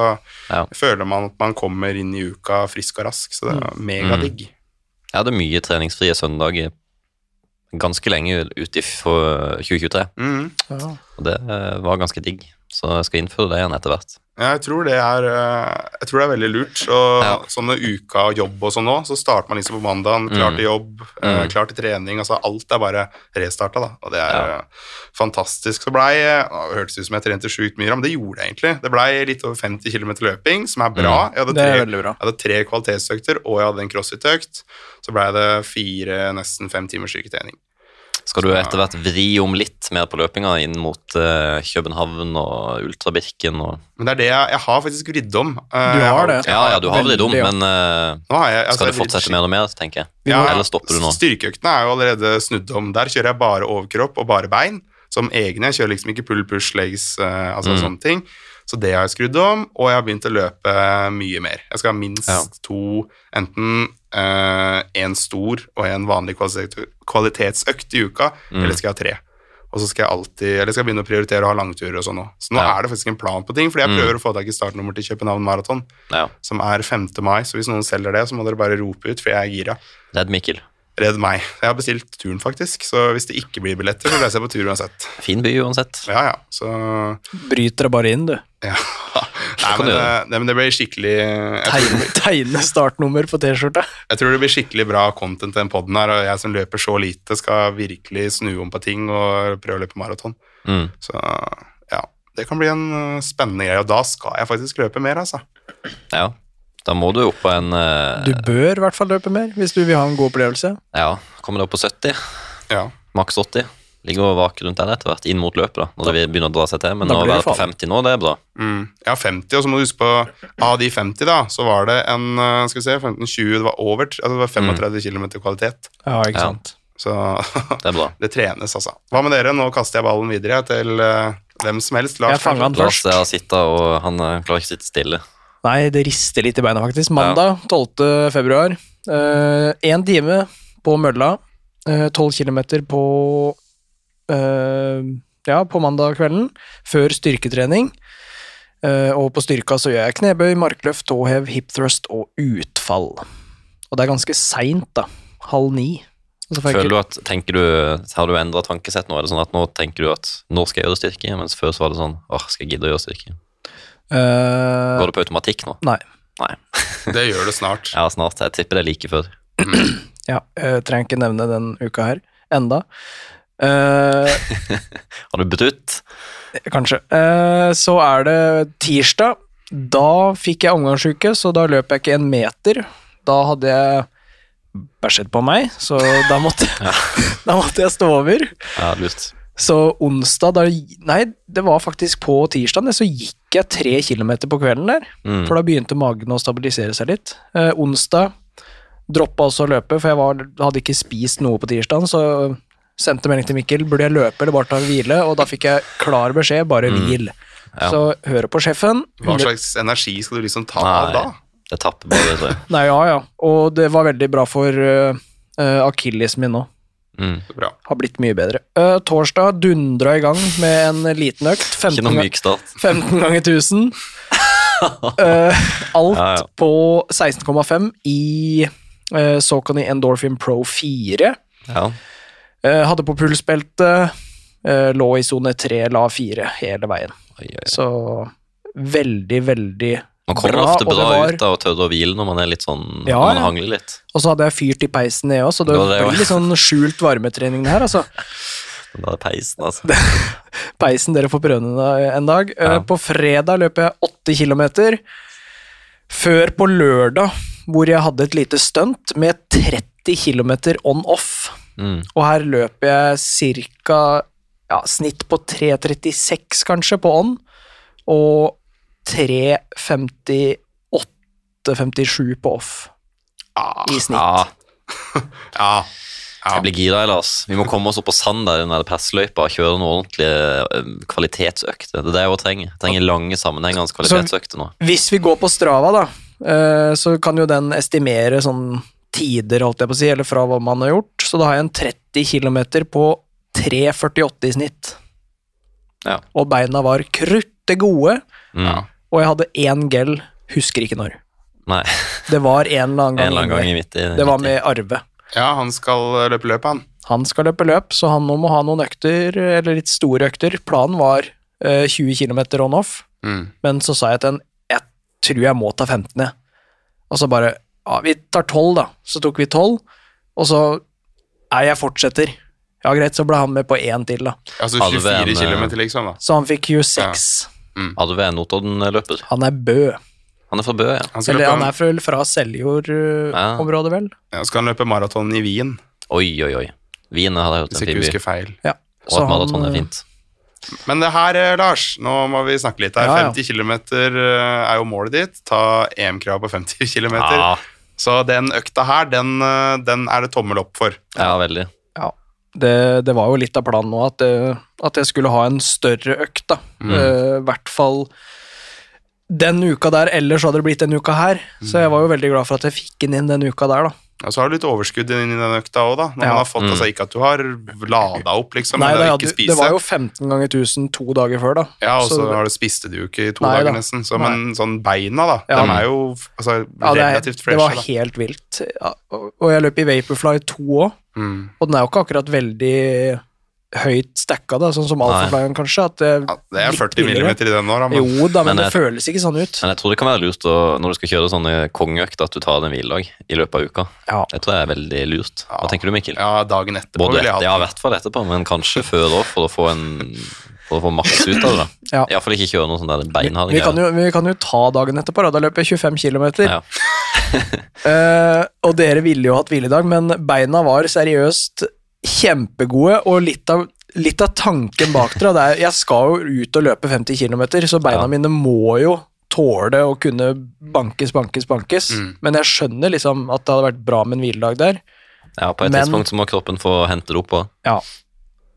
B: Ja.
A: føler man at man kommer inn i uka frisk og rask. Så det
B: Mm.
A: er megadigg.
B: Jeg hadde mye treningsfrie søndager ganske lenge ut i f- 2023,
A: Mm.
C: Ja.
B: og det eh, var ganske digg. Så jeg skal innføre det igjen etter hvert.
A: Ja, jeg, tror det er, eh, jeg tror det er veldig lurt. Og
B: Ja.
A: sånne uka og jobb og sånn nå, så starter man liksom på mandagen, klar til jobb, eh,
B: Mm.
A: klar til trening. Altså alt er bare restarta, da. Og det er
B: Ja.
A: eh, fantastisk. Så blei eh, å, Det hørtes ut som jeg trente sjukt mye, da, men det gjorde jeg egentlig. Det blei litt over 50 km løping, som er bra.
B: Mm.
A: Jeg hadde
C: Det er
A: tre
C: veldig bra.
A: Jeg hadde tre kvalitetsøkter, og jeg hadde en crossfit-økt. Så blei det fire, nesten fem timers styrketrening.
B: Skal du etter hvert vri om litt mer på løpinga inn mot eh, København og Ultrabirken og
A: Men det er det jeg, jeg har faktisk vridd om. Eh,
C: Du har
A: jeg
C: det.
B: Ja, ja, du har
C: Veldig,
B: vridd om,
C: ja.
B: men eh,
A: Nå har jeg, altså,
B: skal
A: jeg
B: det
A: vrir
B: fortsette
A: skikkelig-
B: mer og mer, tenker jeg?
C: Vi må-
B: Eller stopper du nå?
A: Styrkeøktene er jo allerede snudd om. Der kjører jeg bare overkropp og bare bein. Som egne. Jeg kjører liksom ikke pull, push, legs, eh, altså
B: Mm.
A: sånne ting. Så det har jeg skrudd om, og jeg har begynt å løpe mye mer. Jeg skal ha minst
B: Ja.
A: to, enten én stor og en vanlig kvalitet- kvalitetsøkt i uka,
B: Mm.
A: eller skal jeg ha tre. Og så skal jeg alltid, eller skal jeg begynne å prioritere å ha langturer og sånn òg. Så nå
B: Ja.
A: er det faktisk en plan på ting, fordi jeg
B: Mm.
A: prøver å få tak i startnummer til København Maraton,
B: Ja.
A: som er 5. mai. Så hvis noen selger det, så må dere bare rope ut, for jeg er gira.
B: Redd Mikkel.
A: Redd meg. Jeg har bestilt turen, faktisk. Så hvis det ikke blir billetter, så reiser jeg på tur uansett.
B: Fin by uansett.
A: Ja, ja. Så
C: Bryter deg bare inn, du.
A: ja. [LAUGHS] Nei,
B: kan
A: men,
B: du
A: eh,
B: gjøre.
A: nei, men det blir skikkelig jeg,
C: Tegne, [LAUGHS] tegne startnummer på T-skjorta.
A: jeg tror det blir skikkelig bra content i den poden her, og jeg som løper så lite, skal virkelig snu om på ting og prøve å løpe maraton.
B: Mm.
A: Så ja, det kan bli en eh, spennende greie, og da skal jeg faktisk løpe mer, altså.
B: Ja. Da må du opp på en eh,
C: Du bør i hvert fall løpe mer hvis du vil ha en god opplevelse.
B: Ja, kommer deg opp på 70,
A: Ja.
B: maks 80. Ligger og vaker rundt der etter hvert, inn mot løpet, da, når det begynner å dra seg til. Men
C: Da
B: å
C: blir det
B: være på
C: farlig.
B: 50 nå, det er bra.
A: Mm. Jeg har 50, og så må du huske på Av de 50, da, så var det en eh, Skal vi se, 15-20, det var over altså det var 35 km kvalitet.
C: Ja, ikke
B: Ja.
C: sant.
A: Så [LAUGHS]
B: Det er bra.
A: Det trenes, altså. Hva med dere? Nå kaster jeg ballen videre jeg, til eh, hvem som helst. Lars,
C: Jeg fanger han
B: Lars
C: først.
B: der sitter, og han eh, klarer ikke å sitte stille.
C: Nei, det rister litt i beina, faktisk. Mandag 12. februar. Én time på mølla. Tolv kilometer på eh, Ja, på mandag kvelden. Før styrketrening. Eh, og på styrka så gjør jeg knebøy, markløft, tåhev, hip thrust og utfall. Og det er ganske seint, da. Halv ni. Og så får jeg
B: Føler du at, tenker du, Har du endra tankesett nå? Er det sånn at nå tenker du at nå skal jeg gjøre styrke, mens før så var det sånn åh, skal jeg gidde å gjøre styrke?
C: ikke- Eh,
B: Går det på automatikk nå?
C: Nei.
B: Nei.
A: Det gjør du snart.
B: Ja, snart. Jeg tipper det er like før.
C: eh, Ja, jeg trenger ikke nevne den uka her enda. Eh,
B: Har du budt?
C: Kanskje. Eh, så er det tirsdag. Da fikk jeg omgangsuke, så da løp jeg ikke en meter. Da hadde jeg bæsjet på meg, så da måtte, [LAUGHS] da måtte jeg stå over.
B: Ja, lurt.
C: Så onsdag da, Nei, det var faktisk på tirsdag, så gikk jeg tre kilometer på kvelden der.
B: Mm.
C: For da begynte magen å stabilisere seg litt. Eh, onsdag droppa også å løpe, for jeg var, hadde ikke spist noe på tirsdag. Så sendte melding til Mikkel burde jeg løpe eller bare ta en hvile, og da fikk jeg klar beskjed bare hvil.
B: Mm. Ja.
C: Så høre på sjefen.
A: Hva slags energi skal du liksom ta av da?
B: Nei, det tapper bare, tror
C: [LAUGHS]
B: jeg.
C: Nei, ja, ja. Og det var veldig bra for eh, eh, akillesen min nå.
B: Mm.
A: Så Bra.
C: Har blitt mye bedre. Eh, torsdag dundra i gang med en liten økt. 15
B: Ikke noe
C: ga-
B: myk start.
C: 15
B: [LAUGHS]
C: ganger 1000. Eh, alt
B: Ja, ja.
C: på 16,5 i eh, Saucony Endorphin Pro 4.
B: Ja.
C: Eh, hadde på pulsbelte, eh, lå i sone 3, la 4 hele veien.
B: Oi, oi.
C: Så veldig, veldig
B: Man kommer
C: bra,
B: ofte
C: og det
B: bra
C: var-
B: ut av å tørre å hvile når man er litt sånn Når
C: Ja,
B: man
C: ja.
B: hangler litt.
C: Og så hadde jeg fyrt i peisen, jeg òg, så det,
B: Det var det, ja. [LAUGHS]
C: blir litt sånn skjult varmetrening det her, altså.
B: Men Da er det peisen,
C: [LAUGHS]
B: altså.
C: peisen dere får prøve en- en dag. Eh,
B: Ja.
C: På fredag løp jeg åtte kilometer. Før på lørdag, hvor jeg hadde et lite stunt med 30 kilometer on off.
B: Mm.
C: Og her løp jeg ca. Ja, snitt på 3.36 kanskje på on, og 3.58-57 på off
A: Ah,
C: i snitt.
B: Ja,
A: ja.
B: jeg blir gira, Lars. Vi må komme oss opp på sand der i den der pressløypa og kjøre noen ordentlige eh, kvalitetsøkter. Det er det jeg også trenger. Jeg trenger lange sammenhengende kvalitetsøkter nå.
C: Hvis vi går på Strava, da, eh, så kan jo den estimere sånn tider, holdt jeg på å si, eller fra hva man har gjort. Så da har jeg en 30 km på 3,48 i snitt.
B: Ja.
C: Og beina var krutte gode,
B: Mm.
A: Ja.
C: og jeg hadde én gel, husker ikke når.
B: Nei, [LAUGHS]
C: Det var en eller
B: en
C: annen gang.
B: eller annen gang
C: inni.
B: i midt i
C: det var
B: midt i.
C: med Arve.
A: ja, han skal eh, løpe løpet, han.
C: Han skal løpe løp, så han nå må ha noen økter, eller litt store økter. Planen var eh, 20 km on off.
A: Mm.
C: Men så sa jeg til en Jeg tror jeg må ta 15, jeg. Og så bare Ja, vi tar 12, da. Så tok vi 12, og så Nei, jeg fortsetter. Ja, greit, så ble han med på én til, da.
A: Altså
B: Alve
A: 24
B: en, eh,
A: km, liksom. da.
C: Så han fikk 26.
B: Hadde vi en Notodden-løper?
C: Han er Bø.
B: Han er fra Bø, ja.
A: Han skal,
C: Eller han
A: løpe,
C: er fra, fra
B: Ja.
C: Seljord-området, vel?
A: ja, skal han løpe maraton i Wien,
B: Oi, oi, oi. Wien hadde jeg hørt
A: hvis
B: en
A: jeg ikke
B: fin by.
A: husker eh, feil.
C: Ja.
B: Og at maraton er fint.
A: Men det her, eh, Lars, nå må vi snakke litt her.
C: Ja, ja.
A: 50 km er jo målet ditt. Ta EM-krav på 50 km.
B: Ja,
A: Så den økta her, den, eh, den er det tommel opp for.
B: ja, veldig.
C: Ja. Det, det var jo litt av planen nå at, eh, at jeg skulle ha en større økt, da.
A: Mm.
C: Eh, I hvert fall den uka der, ellers hadde det blitt den uka her. Så jeg var jo veldig glad for at jeg fikk den inn den uka der, da.
A: Og så har du litt overskudd inn i den økta òg, da. Når
C: Ja. Mm.
A: man har fått, altså Ikke at du har lada opp, liksom,
C: Nei,
A: men det
C: det,
A: å
C: hadde,
A: ikke spise.
C: det var jo 15 ganger 1000 to dager før, da.
A: Ja, og så
C: Så-
A: har du spiste du jo ikke i to
C: Nei
A: dager,
C: da.
A: nesten. Så, men sånn beina, da. De er jo altså,
C: Ja, det, er,
A: relativt
C: det
A: fresh.
C: var
A: da.
C: helt vilt. Ja, og og jeg løp i Vaporfly 2 òg,
A: Mm.
C: og den er jo ikke akkurat veldig høyt stacka, da, sånn som Alphaflyen kanskje. At det,
A: Ja, det er
C: litt
A: 40
C: billigere.
A: millimeter i den nå, da. Men,
C: Jo da, men,
B: Men
C: det føles ikke sånn ut.
B: Men jeg tror det kan være lurt å, når du skal kjøre sånne kongeøkter, at du tar en hviledag i løpet av uka.
C: Ja.
B: Det tror jeg er veldig lurt. Hva tenker du, Mikkel?
A: ja, dagen etterpå
B: Både
A: ville jeg
B: etter,
A: hatt
B: ja, i hvert fall etterpå, men kanskje før òg, for å få en for å få maks ut av det. da.
C: Ja.
B: I hvert fall ikke kjøre noe sånn der beinhard
C: Vi kan, jo, vi kan jo ta dagen etterpå, da. Da løper jeg 25 km.
B: Ja.
C: Eh, og dere ville jo hatt hviledag, men beina var seriøst kjempegode, og litt av, litt av tanken bak dere det er Jeg skal jo ut og løpe 50 km, så beina
B: Ja.
C: mine må jo tåle å kunne bankes, bankes, bankes.
B: Mm.
C: Men jeg skjønner liksom at det hadde vært bra med en hviledag der.
B: Ja, på et
C: Men-
B: tidspunkt så må kroppen få hente det opp. Og,
C: Ja.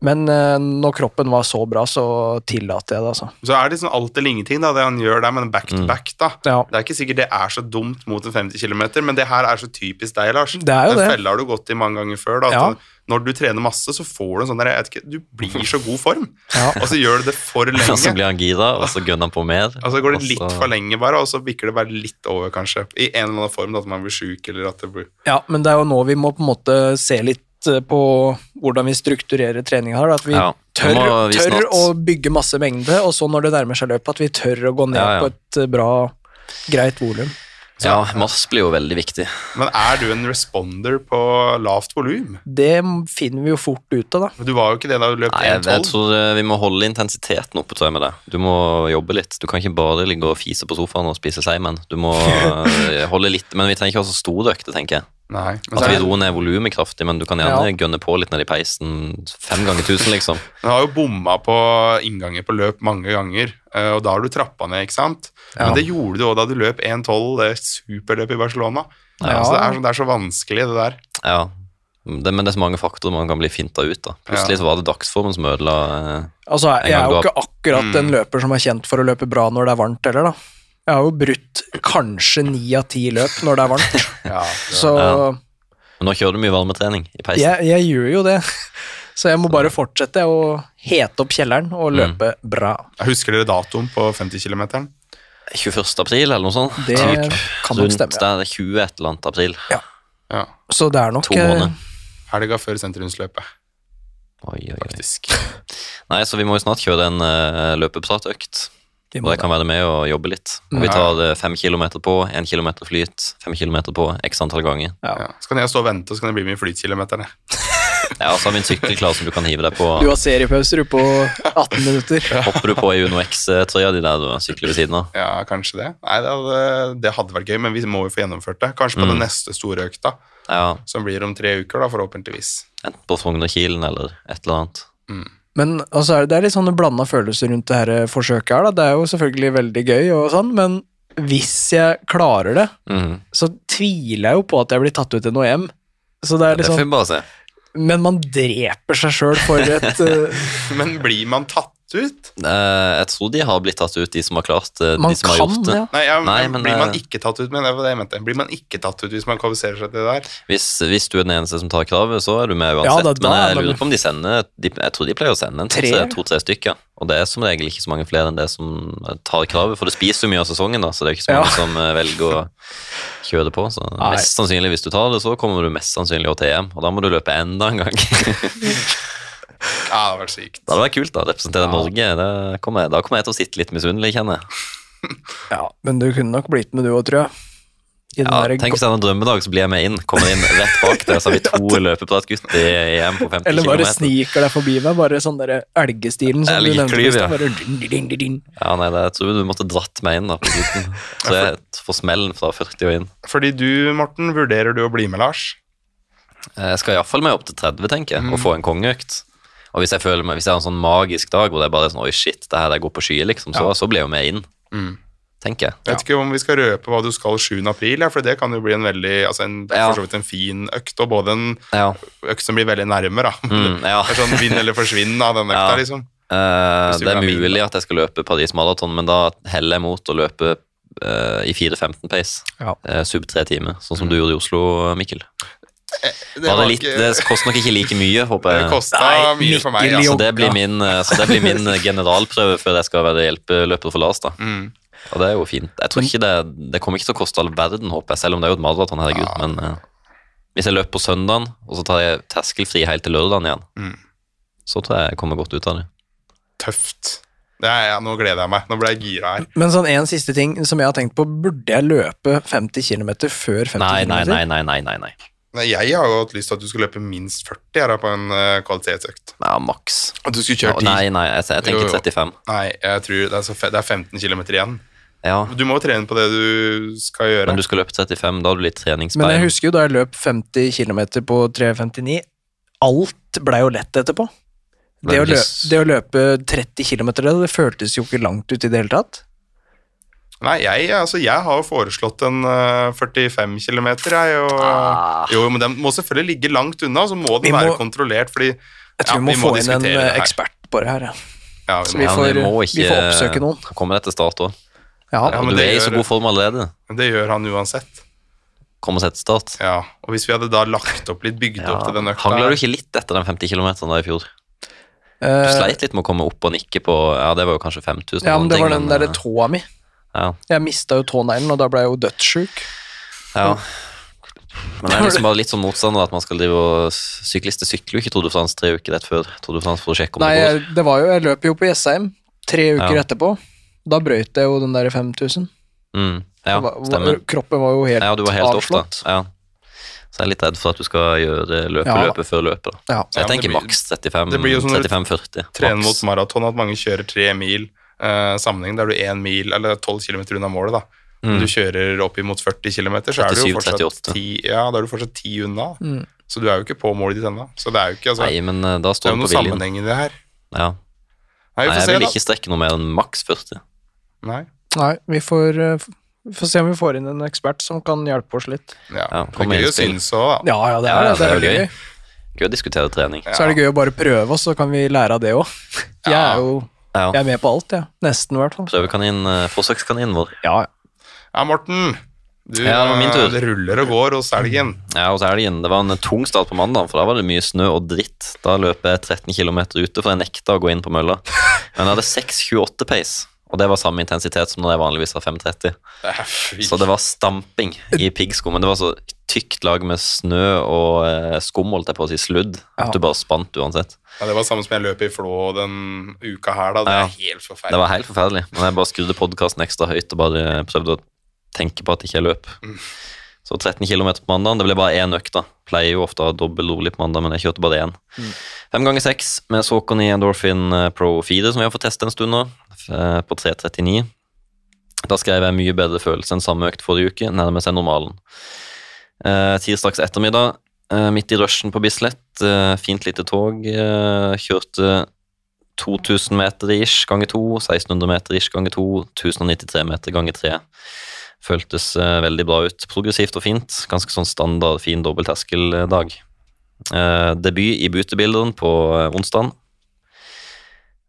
C: Men eh, når kroppen var så bra, så tillater jeg det, altså.
A: Så er det liksom alt eller ingenting, da, det han gjør der, men back to back, da.
C: Ja.
A: Det er ikke sikkert det er så dumt mot en 50 km, men det her er så typisk deg, Lars.
C: Det er jo
A: Den
C: det.
A: fella har du gått i mange ganger før. da, at
C: Ja.
A: du- Når du trener masse, så får du en sånn der, jeg vet ikke, Du blir så god form,
C: Ja.
A: og så gjør du det for lenge.
B: [LAUGHS] og så blir han gira, og så gønner han på mer.
A: Altså går det
B: og
A: litt
B: så-
A: for lenge bare, og så bikker det bare litt over, kanskje. I en eller annen form, da, at man blir syk, eller at det blir
C: Ja, men det er jo nå vi må på en måte se litt eh, på hvordan vi strukturerer treninga her. da, At vi
B: Ja, vi
C: tør,
B: må- vi
C: tør
B: snart-
C: å bygge masse mengde, og så når det nærmer seg løpet, at vi tør å gå ned
B: Ja, ja.
C: på et eh, bra, greit volum.
B: Ja, Mars blir jo veldig viktig.
A: Men er du en responder på lavt volum?
C: Det finner vi jo fort ut av, da.
A: Du var jo ikke det da du løp
B: Nei, jeg, jeg
A: 1,12.
B: tror eh, vi må holde intensiteten oppe tror jeg, med det. Du må jobbe litt. Du kan ikke bare ligge og fise på sofaen og spise seigmenn. Du [LAUGHS] må eh, holde litt, men vi trenger ikke ha så store økter, tenker Altså, jeg.
A: Nei, men så
B: At
A: er
B: vi
A: det-
B: roer ned volumet kraftig, men du kan gjerne gønne på litt ned i peisen. Fem ganger tusen, liksom.
A: Du har jo bomma på innganger på løp mange ganger, eh, og da har du trappa ned, ikke sant? Men det gjorde du òg da du løp 1,12, det superløpet i Barcelona.
C: Ja.
A: Altså, det, er, så- det er så vanskelig, det der.
B: Ja. Det, men det er så mange faktorer man kan bli finta ut av. Plutselig så var det dagsformen som ødela eh,
C: Altså, jeg, jeg
B: gang du
C: er
B: har-
C: jo ikke akkurat
B: Mm.
C: en løper som er kjent for å løpe bra når det er varmt, heller, da. Jeg har jo brutt kanskje ni av ti løp når det er
B: [LAUGHS]
C: varmt,
A: Ja,
C: så
B: Ja. Men nå kjører du mye varmetrening i peisen.
C: jeg, jeg gjør jo det. [LAUGHS] Så jeg må bare fortsette å hete opp kjelleren og
B: Mm.
C: løpe bra.
A: Jeg husker dere datoen på 50 km?
B: 21. april, eller noe sånt.
C: Det
B: Typ.
C: kan nok
B: Rundt
C: stemme. Ja.
B: der 20 et eller annet april.
A: Ja.
C: Så det er nok eh,
B: To måneder.
A: Helga før sentrumsløpet.
B: Oi, oi, oi.
A: Faktisk.
B: Nei, så vi må jo snart kjøre en eh, løpepratøkt.
C: Vi
B: Og
C: må
B: jeg kan være med og jobbe litt. Og vi
A: Ja.
B: tar eh, fem kilometer på, én kilometer flyt, fem kilometer på, x antall ganger.
A: Ja. Så kan jeg stå og vente, og så kan jeg bli med i flytkilometerne.
B: Ja, og så har vi en sykkel klar som du kan hive deg på.
C: Du har seriepauser du, på 18 minutter.
B: Hopper du på i Uno X-trøya di der du sykler ved siden av?
A: Ja, kanskje det. Nei, det hadde, det hadde vært gøy, men vi må jo få gjennomført det. Kanskje på den neste store økta,
B: Ja,
A: som blir om tre uker, da, forhåpentligvis. [LAUGHS]
B: enten på Frognerkilen eller et eller annet.
C: Men altså, er det- det er litt sånne blanda følelser rundt det her eh, forsøket her. Da. Det er jo selvfølgelig veldig gøy, og sånn, men hvis jeg klarer det,
B: Mhm.
C: så tviler jeg jo på at jeg blir tatt ut til noe hjem. Så det er
B: Det får
C: liksom,
B: vi bare se.
C: men man dreper seg sjøl
B: [LAUGHS]
C: for et eh,
A: Men blir man tatt ut?
B: Eh, jeg tror de har blitt tatt ut, de som har klart eh,
C: Man
B: de som har
C: kan
B: gjort det.
C: det. Ja.
A: Nei, ja, men
B: Nei, men,
A: blir man
B: eh,
A: ikke tatt ut, men det var det jeg mente. Blir man ikke tatt ut hvis man kvalifiserer seg til det der?
B: Hvis, hvis du er den eneste som tar kravet, så er du med
C: Ja,
B: uansett.
C: da- da
B: Men
C: er
B: jeg
C: man-
B: lurer på om de sender de, Jeg tror de pleier å sende en
C: Tre?
B: to-tre to, tre stykker. Og det er som regel ikke så mange flere enn det som eh, tar kravet, for det spiser jo mye av sesongen, da, så det er jo ikke så
C: Ja.
B: mange som eh, velger å kjøre på. Så
C: Nei.
B: mest sannsynlig, hvis du tar det, så kommer du mest sannsynlig også til EM, og da må du løpe enda en gang. [LAUGHS] det
A: Ja, det hadde vært sykt.
B: hadde vært kult, da. Representere Norge. Det kommer jeg, da kommer jeg til å sitte litt misunnelig, kjenner jeg.
C: Ja, men du kunne nok blitt med, du òg, tror jeg. I den
B: Ja,
C: der
B: tenk hvis det er en drømmedag, så blir jeg med inn. Kommer inn rett bak der, så
C: [LAUGHS]
B: har vi to løpepratgutter i EM på 50 km.
C: Eller bare sniker deg forbi meg, bare sånn derre elgestilen som du nevnte. i
B: Elgklyv,
C: sted,
B: ja.
C: Bare ding, ding, ding, ding.
B: Ja, nei, det, jeg tror du måtte dratt meg inn da på
A: [LAUGHS]
B: slutten. Så jeg får smellen fra 40 og inn.
A: Fordi du, Morten, vurderer du å bli med, Lars?
B: Eh, Jeg skal iallfall meg opp til 30, tenker jeg, og
A: Mm.
B: få en kongeøkt. Og hvis jeg, føler meg, hvis jeg har en sånn magisk dag hvor det er bare sånn Oi, shit, det her der går på skyer, liksom, så, så blir jeg jo med inn,
A: Mm.
B: tenker jeg.
A: Jeg vet ikke om vi skal røpe hva du skal 7. april, ja, for det kan jo bli en veldig, altså en,
B: Ja.
A: for så vidt en fin økt, og både en
B: Ja.
A: økt som blir veldig nærme, da.
B: Mm, ja.
A: [LAUGHS] Det er sånn vinn eller forsvinn av den økta,
B: Ja.
A: liksom.
B: Eh,
A: Hvis du
B: det er
A: vil ha min,
B: mulig at jeg skal løpe Paris Marathon, men da heller jeg mot å løpe eh, i 4.15 pace.
C: Ja.
B: Eh, sub tre timer, sånn som du gjorde i Oslo, Mikkel.
A: Mm. Det,
B: Det,
A: var
B: litt,
A: ikke-
B: det koster nok ikke like mye, håper
A: det
B: jeg.
A: kosta
C: Nei,
A: mye for meg,
C: Mikkel
A: altså.
B: Så det blir min, eh, så det blir min generalprøve før jeg skal være hjelpeløper for Lars. da.
A: Mm.
B: Og det er jo fint. Jeg tror ikke Det det kommer ikke til å koste all verden, håper jeg, selv om det er jo et maraton. herregud. Men eh, hvis jeg løper på søndagen, og så tar jeg terskelfri helt til lørdagen igjen,
A: Mm.
B: så tror jeg jeg kommer godt ut av det.
A: Tøft. Det er, ja, nå gleder jeg meg. Nå ble jeg gira her.
C: Men sånn en siste ting som jeg har tenkt på, burde jeg løpe 50 km før 50
B: Nei, nei,
C: km?
B: nei, nei. nei, nei, nei.
A: Nei, Jeg har jo hatt lyst til at du skulle løpe minst 40 her da, på en eh, kvalitetsøkt.
B: Ja, maks.
A: At du skulle
B: Ja, Nei, nei, jeg, jeg
A: Jo,
B: tenker
A: jo.
B: 35.
A: Nei, jeg tror det er, så fe det er 15 km igjen.
B: Ja,
A: Du må jo trene på det du skal gjøre.
B: Men du skal løpe 35, da har du litt
C: Men jeg
B: treningsbein.
C: husker jo da jeg løp 50 km på 3.59, alt blei jo lett etterpå. Det
B: Ble
C: å,
B: det
C: lø
B: ikke s-
C: det å løpe 30 km, det, det føltes jo ikke langt ut i det hele tatt.
A: Nei, jeg, altså, jeg har jo foreslått en eh, 45 km, jeg. Og,
B: Ah.
A: Jo, men den må selvfølgelig ligge langt unna, så må
C: Vi
A: den være
C: må-
A: kontrollert, fordi
C: Jeg
A: ja,
C: tror vi må, få inn
A: diskutere
C: en
A: det
C: eh,
A: her.
C: ekspert på det her. Ja.
A: Ja,
C: Så
A: vi må.
B: Ja,
C: vi
B: men
C: får-
B: jeg må
C: vi
B: ikke-
C: får oppsøke noen.
B: Kommer etter start òg.
A: Ja,
C: Ja,
A: men
B: du
A: det
B: er i så
A: gjør-
B: god form allerede.
A: Det gjør han uansett.
B: Kom og sett start.
A: Ja, Og hvis vi hadde da lagt opp litt, bygd
B: Ja.
A: opp til den økta
B: Hangla du ikke litt etter den 50 km da i fjor? Du
C: Eh,
B: sleit litt med å komme opp og nikke på Ja, det var jo kanskje 5000.
C: ja, men det
B: eller
C: var
B: noe,
C: den derre
B: eh,
C: tåa mi.
B: ja,
C: Jeg mista jo tåneglen, og da blei jeg jo dødssjuk.
B: ja. Men det er liksom bare litt sånn motstander at man skal drive og Syklister sykler jo ikke Tour de France tre uker rett før Tour de France for å sjekke om
C: Nei,
B: det går.
C: jeg, det var jo, jeg løp jo på Jessheim tre uker
B: Ja.
C: etterpå. Da brøyt jeg jo den der 5000.
B: Mm. Ja,
C: Det var-
B: stemmer.
C: Kroppen var jo helt,
B: Ja, du var helt off, da.
C: avslått.
B: Ja. Så jeg er litt redd for at du skal gjøre
C: Ja.
B: løpeløpet før løpet. da.
C: Ja.
B: Så jeg
A: Ja, men det
B: tenker
A: blir-
B: maks 35,
A: det blir jo sånn når du
B: 35-40.
A: Trene
B: maks.
A: mot maraton, at mange kjører tre mil eh, sammenheng. Da er du én mil eller tolv kilometer unna målet, da. Om
B: Mm.
A: du kjører opp imot 40 km, så er du jo
B: 37,
A: fortsatt
B: 38.
A: ti, ja, da er du fortsatt ti unna.
C: Mm.
A: Så du er jo ikke på målet ditt ennå. Så det er jo ikke altså,
B: Nei, men eh, da
A: Det er
B: står
A: jo
B: det
A: noe
B: på viljen.
A: sammenheng i det her.
B: Ja.
A: Nei, vi
B: Nei,
A: får
B: jeg
A: se,
B: vil
A: da.
B: ikke strekke noe mer enn maks 40.
A: Nei.
C: Nei, vi får, eh, f- vi får se om vi får inn en ekspert som kan hjelpe oss litt.
A: Ja.
B: Ja,
A: det
B: kom
A: er
B: med
A: gøy å
B: innspill.
A: synes òg, da.
C: Ja, ja, det
B: Ja,
C: er,
B: ja,
C: det er, veldig gøy.
B: Gøy å diskutere trening.
A: Ja.
C: Så er det gøy å bare prøve, og så kan vi lære av det òg. Jeg
A: Ja.
C: er jo jeg
B: Ja.
C: er med på alt, jeg. Nesten, i hvert fall.
B: Prøvekanin, eh, forsøkskaninen vår.
C: Ja, ja.
A: Ja, Morten. Du,
B: Ja, det var min tur. Mm.
A: eh, det ruller og går hos elgen.
B: Ja, og så helgen. Det var en tung start på mandagen, for da var det mye snø og dritt. Da løp jeg 13 km ute, for jeg nekta å gå inn på mølla. Men jeg hadde 6,28 pace, og det var samme intensitet som når jeg vanligvis har 5,30. Så det var stamping i piggsko, men det var så tykt lag med snø og eh, skum, holdt jeg på å si, sludd,
C: Ja.
B: at du bare spant uansett.
A: Ja, det var samme som jeg løp i Flå den uka her, da. Det
B: Ja.
A: er helt
B: Det
A: forferdelig.
B: var helt forferdelig. Men jeg bare skrudde podkasten ekstra høyt og bare prøvde å tenke på at ikke jeg løp. Så 13 km på mandag. Det ble bare én økt, da. Pleier jo ofte å ha dobbel rolig på mandag, men jeg kjørte bare én. Fem ganger seks med Saucony Endorphin eh, Pro 4, som vi har fått teste en stund nå, f- eh, på 3.39. Da skrev jeg mye bedre følelse enn samme økt forrige uke, nærmer seg normalen. Eh, tirsdags ettermiddag, eh, midt i rushen på Bislett, eh, fint lite tog, eh, kjørte 2000 meter ish ganger 2, 1600 meter ish ganger 2, 1093 meter ganger 3. Føltes eh, veldig bra ut. Progressivt og fint. Ganske sånn standard, fin dobbeltterskeldag. Eh, debut i Butebilderen på eh, onsdagen.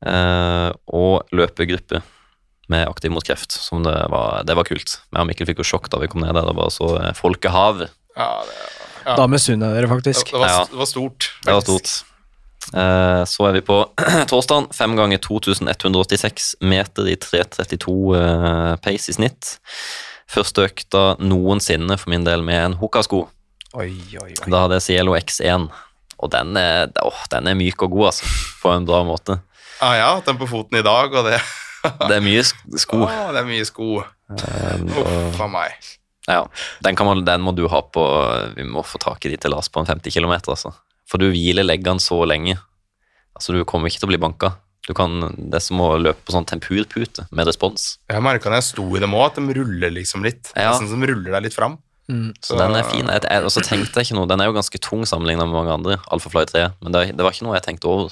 B: Eh, og løpegruppe med Aktiv mot kreft. Som det, var, det var kult. Jeg og Mikkel fikk jo sjokk da vi kom ned der og bare så eh, folkehavet.
A: Ja, det, ja.
C: Da misunner jeg dere,
A: det,
C: faktisk.
A: det, var,
B: Ja.
A: det var stort.
B: Det var
A: faktisk.
B: stort. Eh, Så er vi på [CLEARS THROAT] torsdagen. 5 ganger 2186 meter i 3.32 eh, pace i snitt. Første økta noensinne for min del med en Hoka-sko.
C: Oi, oi, oi.
B: Da hadde jeg Cielo X1. Og den er, åh, den er myk og god, altså. På en bra måte.
A: Ah, Ja, jeg har hatt den på foten i dag, og det
B: Det er mye sk- sko. Ehm,
A: Å, det er mye sko.
B: og-
A: Uff a meg.
B: Ja, den, kan man, den må du ha på Vi må få tak i de til Lars på en 50 km, altså. For du hviler leggene så lenge. Altså, du kommer ikke til å bli banka. Du kan, det er som å løpe på sånn tempurpute med respons.
A: Jeg merka når jeg sto i dem òg, at de ruller liksom litt.
B: Ja.
A: Nesten som de ruller deg litt fram.
C: Mm.
B: Så den er fin. Jeg, jeg, og så tenkte jeg ikke noe. Den er jo ganske tung sammenlignet med mange andre, Alphafly 3, men det, det var ikke noe jeg tenkte over.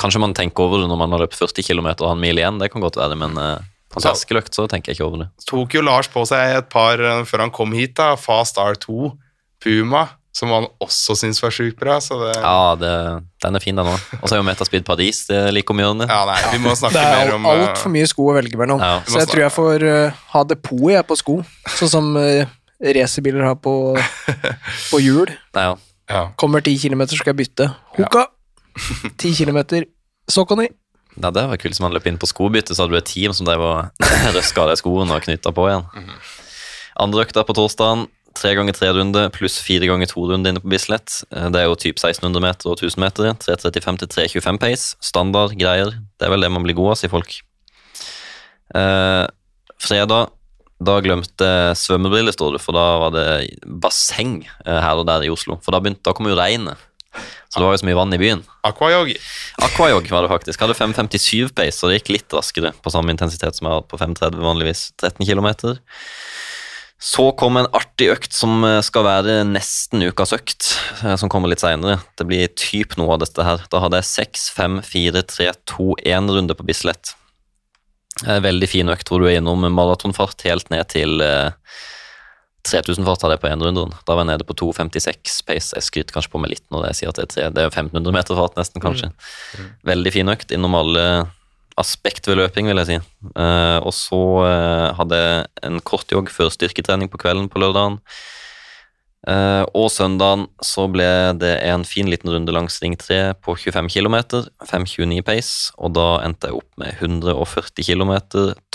B: Kanskje man tenker over det når man har løpt 40 km og har en mil igjen, det kan godt være, men eh, på en
A: Ja.
B: terskeløkt så tenker jeg ikke over det.
A: Tok jo Lars på seg et par eh, før han kom hit, da. Fast R2, Puma, som han også syns var sjukt bra. Så det ja.
B: Ja, det, den er fin, den òg. Og så er jo Metaspeed Paris det er like omgjørende.
A: nei, vi må snakke
C: Det er
A: mer om eh,
C: altfor mye sko å velge mellom.
B: Ja.
C: Så jeg tror jeg får eh, ha depot jeg på sko, sånn som uh, racerbiler har på, på hjul.
B: Ja.
A: ja.
C: Kommer 10 km, skal jeg bytte. Hoka! 10 km. Sokoni.
B: Ja, det var kult som han løp inn på skobytte, så hadde du et team som drev og [CLEARS THROAT] røska av deg skoene og knytta på igjen. Andre økta på torsdagen, tre ganger tre runde pluss fire ganger to runde inne på Bislett. Eh, Det er jo typ 1600 meter og 1000 meter. 3.35 til 3.25 pace. Standard greier. Det er vel det man blir god av, sier folk. Eh, fredag, da glemte jeg svømmebriller, står det, for da var det basseng eh, her og der i Oslo. For da, begynte, da kom jo regnet. Så det var jo så mye vann i byen.
A: Aquajog.
B: Aquajog var det faktisk. Hadde 5.57 pace, så det gikk litt raskere på samme intensitet som jeg har hatt på 5.30 vanligvis. 13 km. Så kom en artig økt som eh, skal være nesten ukas økt, eh, som kommer litt seinere. Det blir typ noe av dette her. Da hadde jeg 6, 5, 4, 3, 2, 1 runde på Bislett. Eh, Veldig fin økt hvor du er innom maratonfart helt ned til eh, 3000 fart hadde jeg på én runde. Da var jeg nede på 2.56 pace. Jeg skryter kanskje på meg litt når jeg sier at det er tre. Det er jo 1500 meter fart nesten, kanskje. Veldig fin økt innom alle aspekt ved løping, vil jeg si. Eh, og så eh, hadde jeg en kort jogg før styrketrening på kvelden på lørdagen. Eh, og søndagen så ble det en fin liten runde langs Ring 3 på 25 km, 5.29 pace, og da endte jeg opp med 140 km,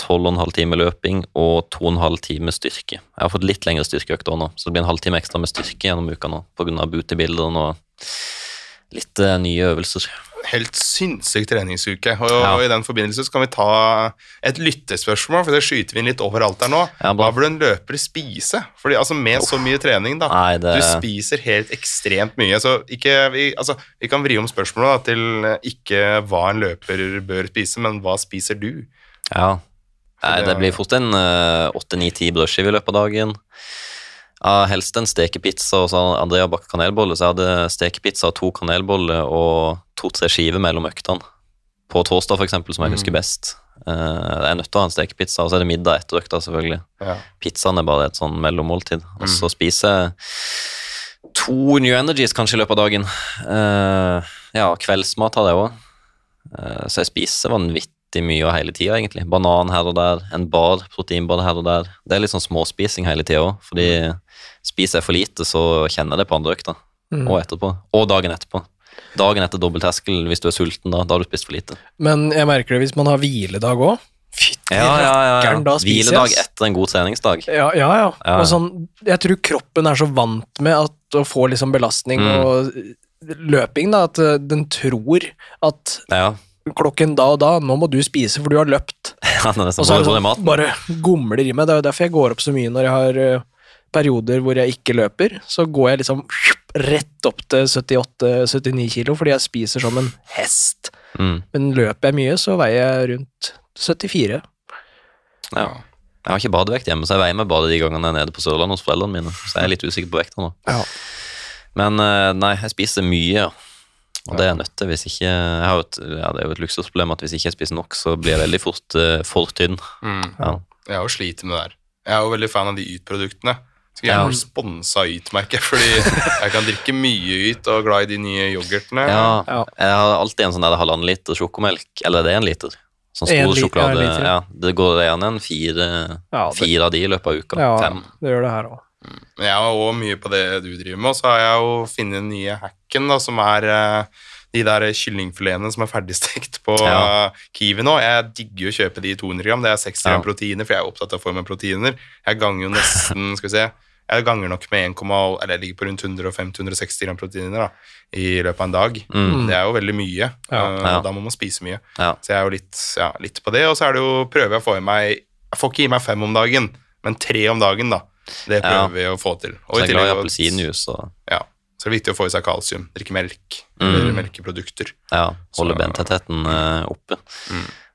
B: 12,5 timer løping og 2,5 timer styrke. Jeg har fått litt lengre styrkeøkter nå, så det blir en halvtime ekstra med styrke gjennom uka nå pga. butebilderen og Litt eh, nye øvelser.
A: Helt sinnssyk treningsuke. Og,
B: Ja.
A: og i den forbindelse så kan vi ta et lyttespørsmål, for det skyter vi inn litt overalt her nå.
B: Ja, bra.
A: Hva burde en løper spise? Fordi altså Med så mye trening, da.
B: Nei, det-
A: Du spiser helt ekstremt mye. Så ikke Vi, altså, vi kan vri om spørsmålet da, til eh, ikke hva en løper bør spise, men hva spiser du?
B: Ja. Nei,
A: det-
B: det blir fort en eh, åtte-ni-ti brødskiver i løpet av dagen. Ja, helst en stekepizza og så Andrea bakker kanelbolle, så jeg hadde stekepizza, to kanelboller og to-tre skiver mellom øktene. På torsdag, for eksempel, som jeg
A: Mm.
B: husker best. Eh, jeg er nødt til å ha en stekepizza, og så er det middag etter økta, selvfølgelig.
A: Ja.
B: Pizzaen er bare et sånn mellommåltid. Og
C: Mm.
B: så spiser jeg to New Energies kanskje i løpet av dagen. Eh, ja, kveldsmat har jeg òg. så jeg spiser vanvittig mye og hele tida, egentlig. Banan her og der, en bar, proteinbar her og der. Det er litt sånn småspising hele tida òg, fordi spiser jeg for lite, så kjenner jeg det på andre økta.
C: Mm.
B: Og etterpå. Og dagen etterpå. Dagen etter dobbeltterskel, hvis du er sulten da, da har du spist for lite.
C: Men jeg merker det hvis man har hviledag òg. Fytti rakkeren, da spiser
B: Hviledag
C: jeg. ass.
B: etter en god treningsdag.
C: Ja, ja. ja.
B: Ja.
C: Og sånn, jeg tror kroppen er så vant med at, å få liksom belastning
B: Mm.
C: og løping, da, at eh, den tror at
B: Ja, [LAUGHS]
C: klokken da og da, nå må du spise for du har løpt.
B: ja det er
C: Og
B: så
C: så er
B: både,
C: det
B: både mat
C: sånn, bare gomler i meg. Det er jo derfor jeg går opp så mye når jeg har eh, perioder hvor jeg ikke løper. Så går jeg liksom rett opp til 78-79 kilo fordi jeg spiser som en hest.
B: mm.
C: Men løper jeg mye, så veier jeg rundt 74.
B: Ja. Jeg har ikke badevekt hjemme, så jeg veier meg bare de gangene jeg er nede på Sørlandet hos foreldrene mine. Så jeg er litt usikker på vekta nå.
C: Ja.
B: Men eh, nei, jeg spiser mye, ja. Og det er jeg nødt til hvis ikke jeg har jo et, ja, Det er jo et luksusproblem at hvis ikke jeg spiser nok, så blir jeg veldig fort eh, for tynn.
A: Mm.
B: Ja.
A: Jeg har jo slitt med det der. Jeg er jo veldig fan av de Yt-produktene. Skulle
B: Ja.
A: gjerne vært sponsa Yt, merker jeg, fordi jeg kan drikke mye Yt og er glad i de nye yoghurtene.
B: Ja,
C: Ja.
B: jeg har alltid en sånn der halvannen liter sjokomelk, eller det er en liter. Sånn
C: En
B: stor
C: liter,
B: sjokolade.
C: ja, en
B: Ja,
C: liter, ja.
B: det går gjerne en fire,
C: Ja, det-
B: fire av de i løpet av uka.
C: Ja,
B: Fem.
C: det gjør det her òg.
A: Men jeg har òg mye på det du driver med, og så har jeg jo funnet den nye hacken, da, som er eh, de der kyllingfiletene som er ferdigstekt på
B: Ja.
A: eh, Kiwi nå. Jeg digger jo å kjøpe de i 200 gram. Det er 60 gram
B: Ja.
A: proteiner, for jeg er opptatt av formen proteiner. Jeg ganger jo nesten skal vi se, jeg ganger nok med 1, eller jeg ligger på rundt 150-160 gram proteiner da, i løpet av en dag.
B: Mm.
A: Det er jo veldig mye,
C: Ja.
A: eh, og
B: Ja.
A: da må man spise mye.
B: Ja.
A: Så jeg er jo litt, ja, litt på det. Og så er det jo, prøver jeg å få i meg Jeg får ikke i meg fem om dagen, men tre om dagen, da. Det
B: Ja.
A: prøver vi å få til. Og
B: Så jeg er
A: tillegg
B: glad i
A: å-
B: appelsinjuice og
A: Ja. Så det er viktig å få i seg kalsium. Drikke melk.
B: Mm.
A: Eller melkeprodukter.
B: Ja, holde
A: Så- Mm.
B: bentettheten eh, oppe.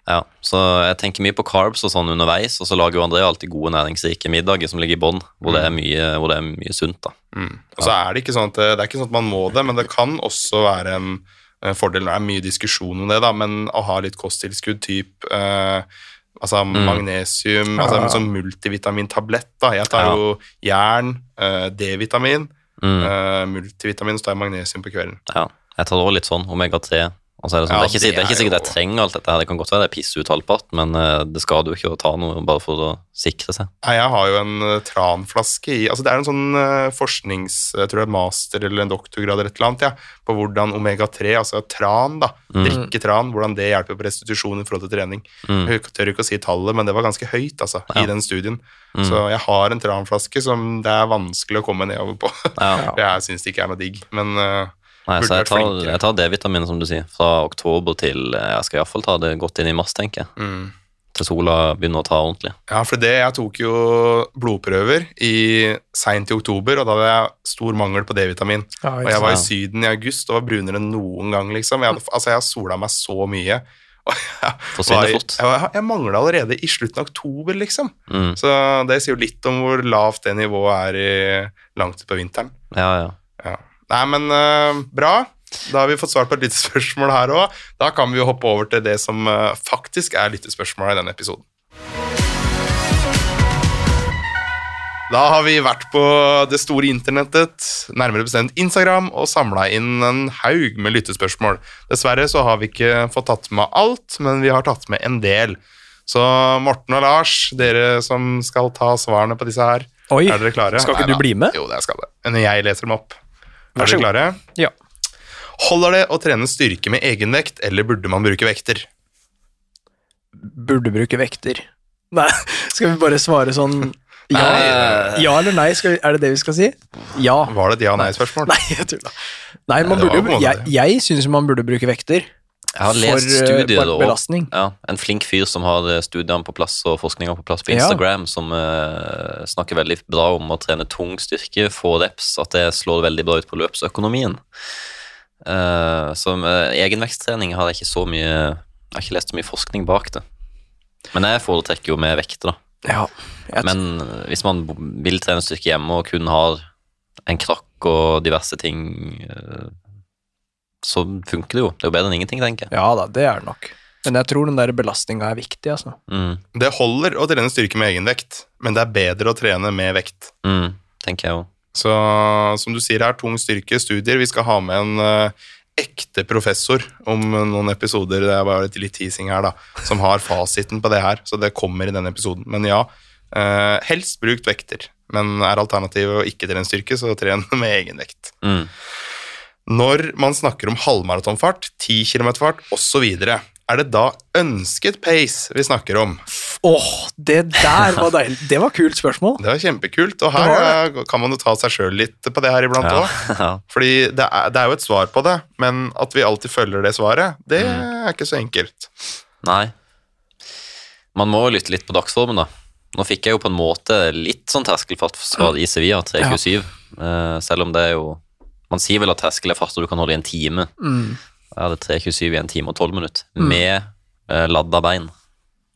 B: Ja, så jeg tenker mye på carbs og sånn underveis, og så lager jo André alltid gode næringsrike middager som ligger i bånn, hvor, det er mye- hvor det er mye sunt, da.
A: Mm. Og så er det ikke sånn at det er ikke sånn at man må det, men det kan også være en eh, fordel. Det er mye diskusjon om det, da, men å ha litt kosttilskudd type altså
B: Mm.
A: magnesium, altså en sånn multivitamintablett. da. Jeg tar
B: Ja.
A: jo jern, eh, D-vitamin,
B: Mm.
A: eh, multivitamin, og så tar jeg magnesium på kvelden.
B: Ja, jeg tar også litt sånn omega-3. Og så er det, sånn,
A: Ja,
B: det, er ikke, si- det er ikke
A: det er
B: sikkert jeg trenger alt dette her, det kan godt være det er piss ut halvparten, men eh, det skader jo ikke å ta noe bare for å sikre seg.
A: Nei, jeg har jo en eh, tranflaske i altså Det er en sånn eh, forsknings... Jeg tror det er master eller en doktorgrad eller et eller annet, ja, på hvordan omega-3, altså tran, da, drikke tran, hvordan det hjelper på restitusjon i forhold til trening. Jeg tør ikke å si tallet, men det var ganske høyt, altså, i den studien. Så jeg har en tranflaske som det er vanskelig å komme nedover på.
B: Ja.
A: [LAUGHS] Jeg syns det ikke er noe digg, men eh,
B: Nei,
A: burde
B: så jeg
A: vært
B: tar,
A: flinkere.
B: jeg tar D-vitamin, som du sier, fra oktober til eh, Jeg skal iallfall ta det godt inn i mars, tenker jeg.
A: Mm.
B: Til sola begynner å ta ordentlig.
A: Ja, for det, jeg tok jo blodprøver i seint i oktober, og da hadde jeg stor mangel på D-vitamin.
C: Ja,
A: Og jeg var i
B: sant.
A: Syden i august og var brunere enn noen gang, liksom. Jeg, hadde, altså, jeg har sola meg så mye. Og jeg,
B: Forsvinner
A: var i-
B: fort.
A: Jeg, var- jeg mangla allerede i slutten av oktober, liksom.
B: Mm.
A: Så det sier jo litt om hvor lavt det nivået er i langt utpå vinteren.
B: Ja, ja.
A: Ja. Nei, men eh, bra. Da har vi fått svart på et [LAUGHS] lyttespørsmål her òg. Da kan vi jo hoppe over til det som eh, faktisk er lyttespørsmålet i denne episoden. Da har vi vært på det store internettet, nærmere bestemt Instagram, og samla inn en haug med lyttespørsmål. Dessverre så har vi ikke fått tatt med alt, men vi har tatt med en del. Så Morten og Lars, dere som skal ta svarene på disse her,
C: Oi,
A: er dere klare?
C: skal ikke du
A: Neida.
C: bli med?
A: Jo, det skal jeg. Men jeg leser dem opp.
C: Vær
A: Er
C: så
A: dere
C: god.
A: klare?
C: Ja.
A: Holder det å trene styrke med egenvekt, eller burde man bruke vekter?
C: [LAUGHS] Burde bruke vekter. Nei, skal vi bare svare sånn Ja, ja eller nei, skal, er det det vi skal si? Ja. [LAUGHS]
A: Var det et ja-nei-spørsmål?
C: Nei, jeg tulla. Nei, man
A: det var
C: burde,
A: på en måte
C: jeg
A: det.
C: jeg syns man burde bruke vekter.
B: Jeg har
C: For,
B: lest
C: eh,
B: studier
C: be-
B: og
C: belastning.
B: Ja, en flink fyr som har eh, studiene på plass og forskninga på plass på
C: Ja.
B: Instagram, som eh, snakker veldig bra om å trene tung styrke, få reps, at det slår veldig bra ut på løpsøkonomien. Eh, så med egenveksttrening har jeg ikke så mye Jeg har ikke lest så mye forskning bak det. Men jeg foretrekker jo med vekter, da.
C: Ja, jeg,
B: Men hvis man b- vil trene styrke hjemme og kun har en krakk og diverse ting, eh, så funker det jo. Det er jo bedre enn ingenting, tenker jeg.
C: ja da, det er det nok. Men jeg tror den der belastninga er viktig. altså.
B: Mm,
A: Det holder å trene styrke med egenvekt, men det er bedre å trene med vekt.
B: mm, tenker jeg jo.
A: Så som du sier her, tung styrke, studier. Vi skal ha med en eh, ekte professor om noen episoder. Det er bare litt teasing her, da. Som har fasiten på det her, så det kommer i denne episoden. Men ja, eh, helst brukt vekter. Men er alternativet å ikke trene styrke, så tren [LAUGHS] med egenvekt.
B: Mm. [LAUGHS]
A: Når man snakker om halvmaratonfart, 10 km-fart osv., er det da ønsket pace vi snakker om?
C: Åh, det der var deilig. Det var kult spørsmål.
A: Det var kjempekult, og her
C: Det
A: eh, kan man jo ta seg sjøl litt på det her iblant òg.
B: Ja.
A: Fordi det er, det er jo et svar på det, men at vi alltid følger det svaret, det er ikke så enkelt.
B: Nei. Man må jo lytte litt på dagsformen, da. Nå fikk jeg jo på en måte litt sånn terskelfartsgrad i Sevilla, 3.27, eh, selv om det er jo Man sier vel at terskel er farter du kan holde i en time.
C: Mm.
B: Jeg hadde 3.27 i en time og 12 minutter med eh, ladda bein,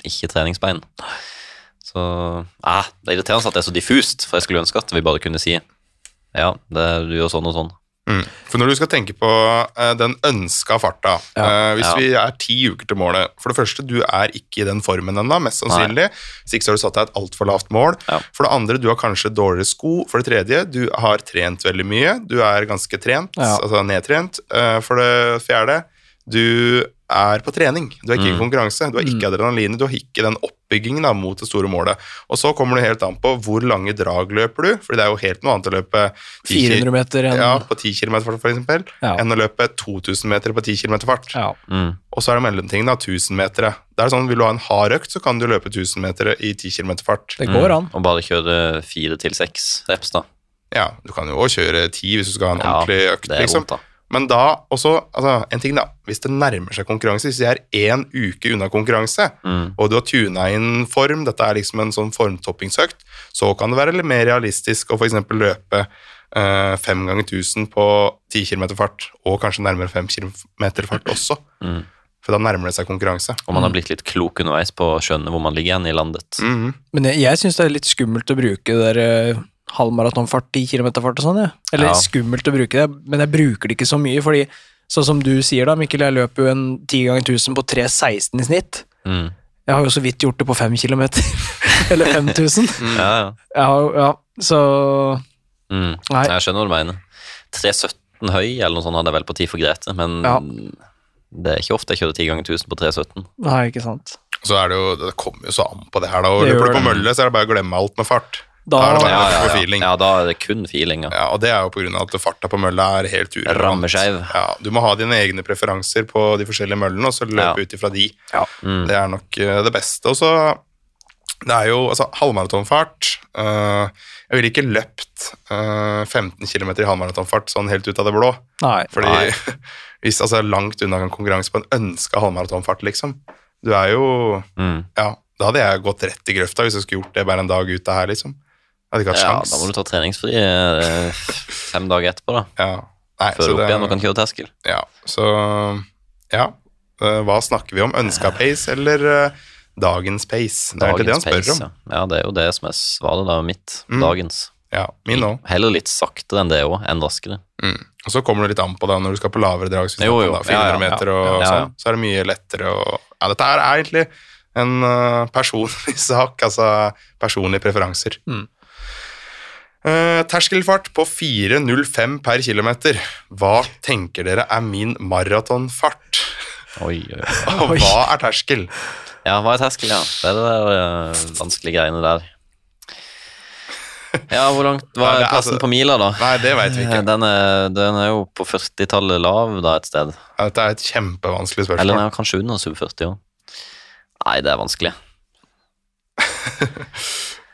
B: ikke treningsbein. Så eh, Det er irriterende at det er så diffust, for jeg skulle ønske at vi bare kunne si ja, det, du gjør sånn og sånn.
A: For når du skal tenke på eh, den ønska farta eh, Hvis
B: Ja.
A: vi er ti uker til målet For det første, du er ikke i den formen ennå, mest sannsynlig. Hvis ikke så har du satt deg et altfor lavt mål.
B: Ja.
A: For det andre, du har kanskje dårligere sko. For det tredje, du har trent veldig mye. Du er ganske trent,
C: Ja.
A: altså nedtrent. Eh, For det fjerde, du er på trening. Du er
B: Mm.
A: ikke i konkurranse. Du har ikke adrenalin, du har ikke den oppbyggingen da, mot det store målet. Og så kommer det helt an på hvor lange drag løper du, for det er jo helt noe annet å løpe 10 kil-
C: 400 meter enn
A: ja, på 10 km fart, for eksempel,
C: Ja.
A: enn å løpe 2000 meter på 10 km fart.
C: Ja.
B: Mm.
A: Og så er det mellomting, da, 1000 meter. Det er sånn, vil du ha en hard økt, så kan du løpe 1000 meter i 10 km fart.
C: Det går
B: mm.
C: an.
B: Og bare kjøre fire til seks reps, da.
A: Ja, du kan jo også kjøre 10 hvis du skal ha en
B: Ja,
A: ordentlig økt,
B: Det er
A: liksom.
B: vondt, da.
A: Men da også, altså, en ting da, hvis det nærmer seg konkurranse, hvis jeg er én uke unna konkurranse,
B: Mm.
A: og du har tuna inn form, dette er liksom en sånn formtoppingsøkt, så kan det være litt mer realistisk å for eksempel løpe eh, fem ganger 1000 på 10 km fart, og kanskje nærmere 5 km fart også.
B: Mm.
A: For da nærmer det seg konkurranse.
B: Og man har blitt litt klok underveis på å skjønne hvor man ligger hen i landet.
A: Mhm.
C: Men jeg, jeg syns det er litt skummelt å bruke det der eh, halvmaratonfart, 10 km-fart og sånn. Ja. Eller
B: Ja.
C: skummelt å bruke det, men jeg bruker det ikke så mye. fordi sånn som du sier da, Mikkel, jeg løper jo en 10 ganger 1000 på 3.16 i snitt.
B: Mm.
C: Jeg har jo så vidt gjort det på 5 km. [LAUGHS] Eller 5000.
A: Mm.
B: Ja, ja.
C: Jeg har, ja, så
B: Mm.
C: Nei.
B: Jeg skjønner hva du mener. 317 høy eller noe sånt hadde jeg vel på tid for Grete, men
C: Ja.
B: det er ikke ofte jeg kjører 10 ganger 1000 på 317.
C: Nei, ikke sant.
A: Så er det jo, det kommer jo så an på det her da, og
C: Det
A: løper
C: gjør
A: du på
C: det.
A: mølle, så er det bare å glemme alt med fart. Da
C: Da,
A: er det bare-
B: Ja, ja,
A: for
B: ja.
A: feeling.
B: ja, da er det kun feeling. Ja.
A: Ja, og det er jo på grunn av at farta på mølla er helt urelevant.
B: Rammeskeiv.
A: Ja, du må ha dine egne preferanser på de forskjellige møllene, og så
B: Ja.
A: løpe ut ifra de.
C: Ja.
B: Mm.
A: Det er nok eh, det beste. Og så det er jo altså, halvmaratonfart. eh, jeg ville ikke løpt eh, 15 km i halvmaratonfart sånn helt ut av det blå.
C: Nei.
A: Fordi
B: Nei.
A: [LAUGHS] hvis altså er langt unna en konkurranse på en ønska halvmaratonfart, liksom Du er jo
B: Mm.
A: Ja, da hadde jeg gått rett i grøfta hvis jeg skulle gjort det bare en dag ut av her, liksom. Jeg hadde ikke hatt
B: Ja,
A: sjans.
B: da må du ta treningsfri eh, fem dager etterpå, da.
A: Ja. Nei,
B: Før
A: så
B: opp
A: det-
B: igjen og kan kjøre terskel.
A: Ja, så ja. eh, Hva snakker vi om? Ønska pace eller eh, dagens pace? Det er egentlig det han spør om.
B: pace, ja. ja, det er jo det som er svaret da, mitt.
A: Mm.
B: Dagens.
A: Ja, min òg.
B: Heller litt saktere enn det òg, enn raskere.
A: Mm. Og så kommer det litt an på da, når du skal på lavere drag, så, hvis
B: Jo,
A: du
B: jo.
A: da, 400
B: Ja, ja, ja.
A: meter og
B: Ja, ja.
A: sånn, så er det mye lettere å Ja, dette her er egentlig en eh, [LAUGHS] personlig sak, altså personlige preferanser.
C: Mm.
A: Eh, terskelfart på 4,05 per kilometer. Hva tenker dere er min maratonfart?
B: Oi, oi, oi.
A: Og
C: Oi.
A: hva er terskel?
B: Ja, hva er terskel, ja? Det er det der eh, vanskelige
A: [LAUGHS]
B: greiene der. Ja, hvor langt
A: Ja,
B: var
A: det er
B: plassen
A: altså-
B: på mila, da?
A: Nei, det veit vi
B: Eh,
A: ikke.
B: Den er, den er jo på 40-tallet lav da et sted.
A: Ja, Dette er et kjempevanskelig
B: Eller den
A: spørsmål.
B: er kanskje under sub 40 òg. Nei, det er vanskelig.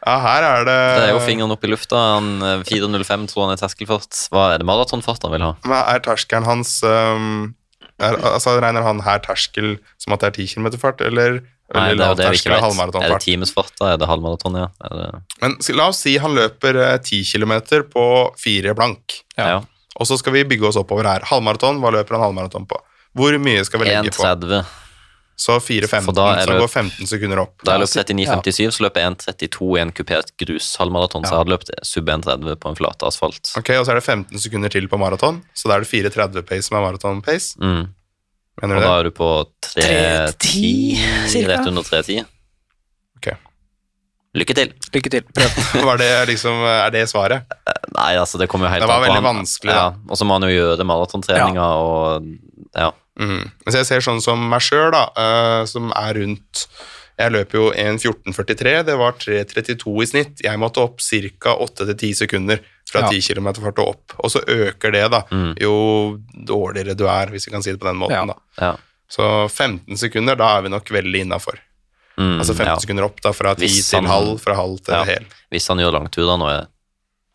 A: Ja, her er det
B: Det er jo fingeren opp i lufta. Han, eh, 4.05 tror han er terskelfart. Hva er det maratonfart han vil ha?
A: Hva er terskelen hans ehm, er, Altså, regner han her terskel som at det er 10 km fart, eller,
B: Nei,
A: eller
B: det er jo det vi
A: lavterskel og
B: ikke vet. Er det
A: halvmaratonfart?
B: timesfart, da? Er det halvmaraton, ja? Er det,
A: Men sk- la oss si han løper eh, 10 km på fire blank,
B: ja. ja.
A: og så skal vi bygge oss oppover her. Halvmaraton, hva løper han halvmaraton på? Hvor mye skal vi legge på?
B: 1,30.
A: Så 4.15,
B: For da er
A: så
B: det-
A: går 15 sekunder opp.
B: Da jeg løp
C: Ja, så-
B: 39,57, så løp jeg 1,32 i en kupert grushalvmaraton. Så jeg hadde løpt sub 1,30 på en flat asfalt.
A: Ok, Og så er det 15 sekunder til på maraton, så da er det 4.30-pace som er maraton-pace.
B: Mm.
A: Mener
B: Og
A: du det?
B: da er du på 3,10,
C: 3,10, cirka.
B: rett under 3,10.
A: Ok.
B: Lykke til!
C: Lykke til.
A: [LAUGHS]
C: Prøv.
A: Var det liksom, er det svaret?
B: Nei, altså, det kommer jo helt
A: Det var
B: an på
A: veldig
B: han.
A: vanskelig,
B: Ja,
A: da.
B: og så må han jo gjøre maratontreninga og ja.
A: Mm. Hvis jeg ser sånn som meg sjøl, da, eh, som er rundt Jeg løper jo 1.14,43. Det var 3.32 i snitt. Jeg måtte opp ca. 8-10 sekunder fra
C: Ja.
A: 10 km fart og opp. Og så øker det, da, jo dårligere du er, hvis vi kan si det på den måten,
C: Ja.
A: da.
B: Mhm. ja.
A: Så 15 sekunder, da er vi nok veldig innafor.
B: Mm,
A: Altså 15
B: ja.
A: sekunder opp, da, fra 10
B: Hvis han-
A: til halv, fra halv til
B: Ja.
A: hel.
B: Hvis han gjør langturer nå, er jeg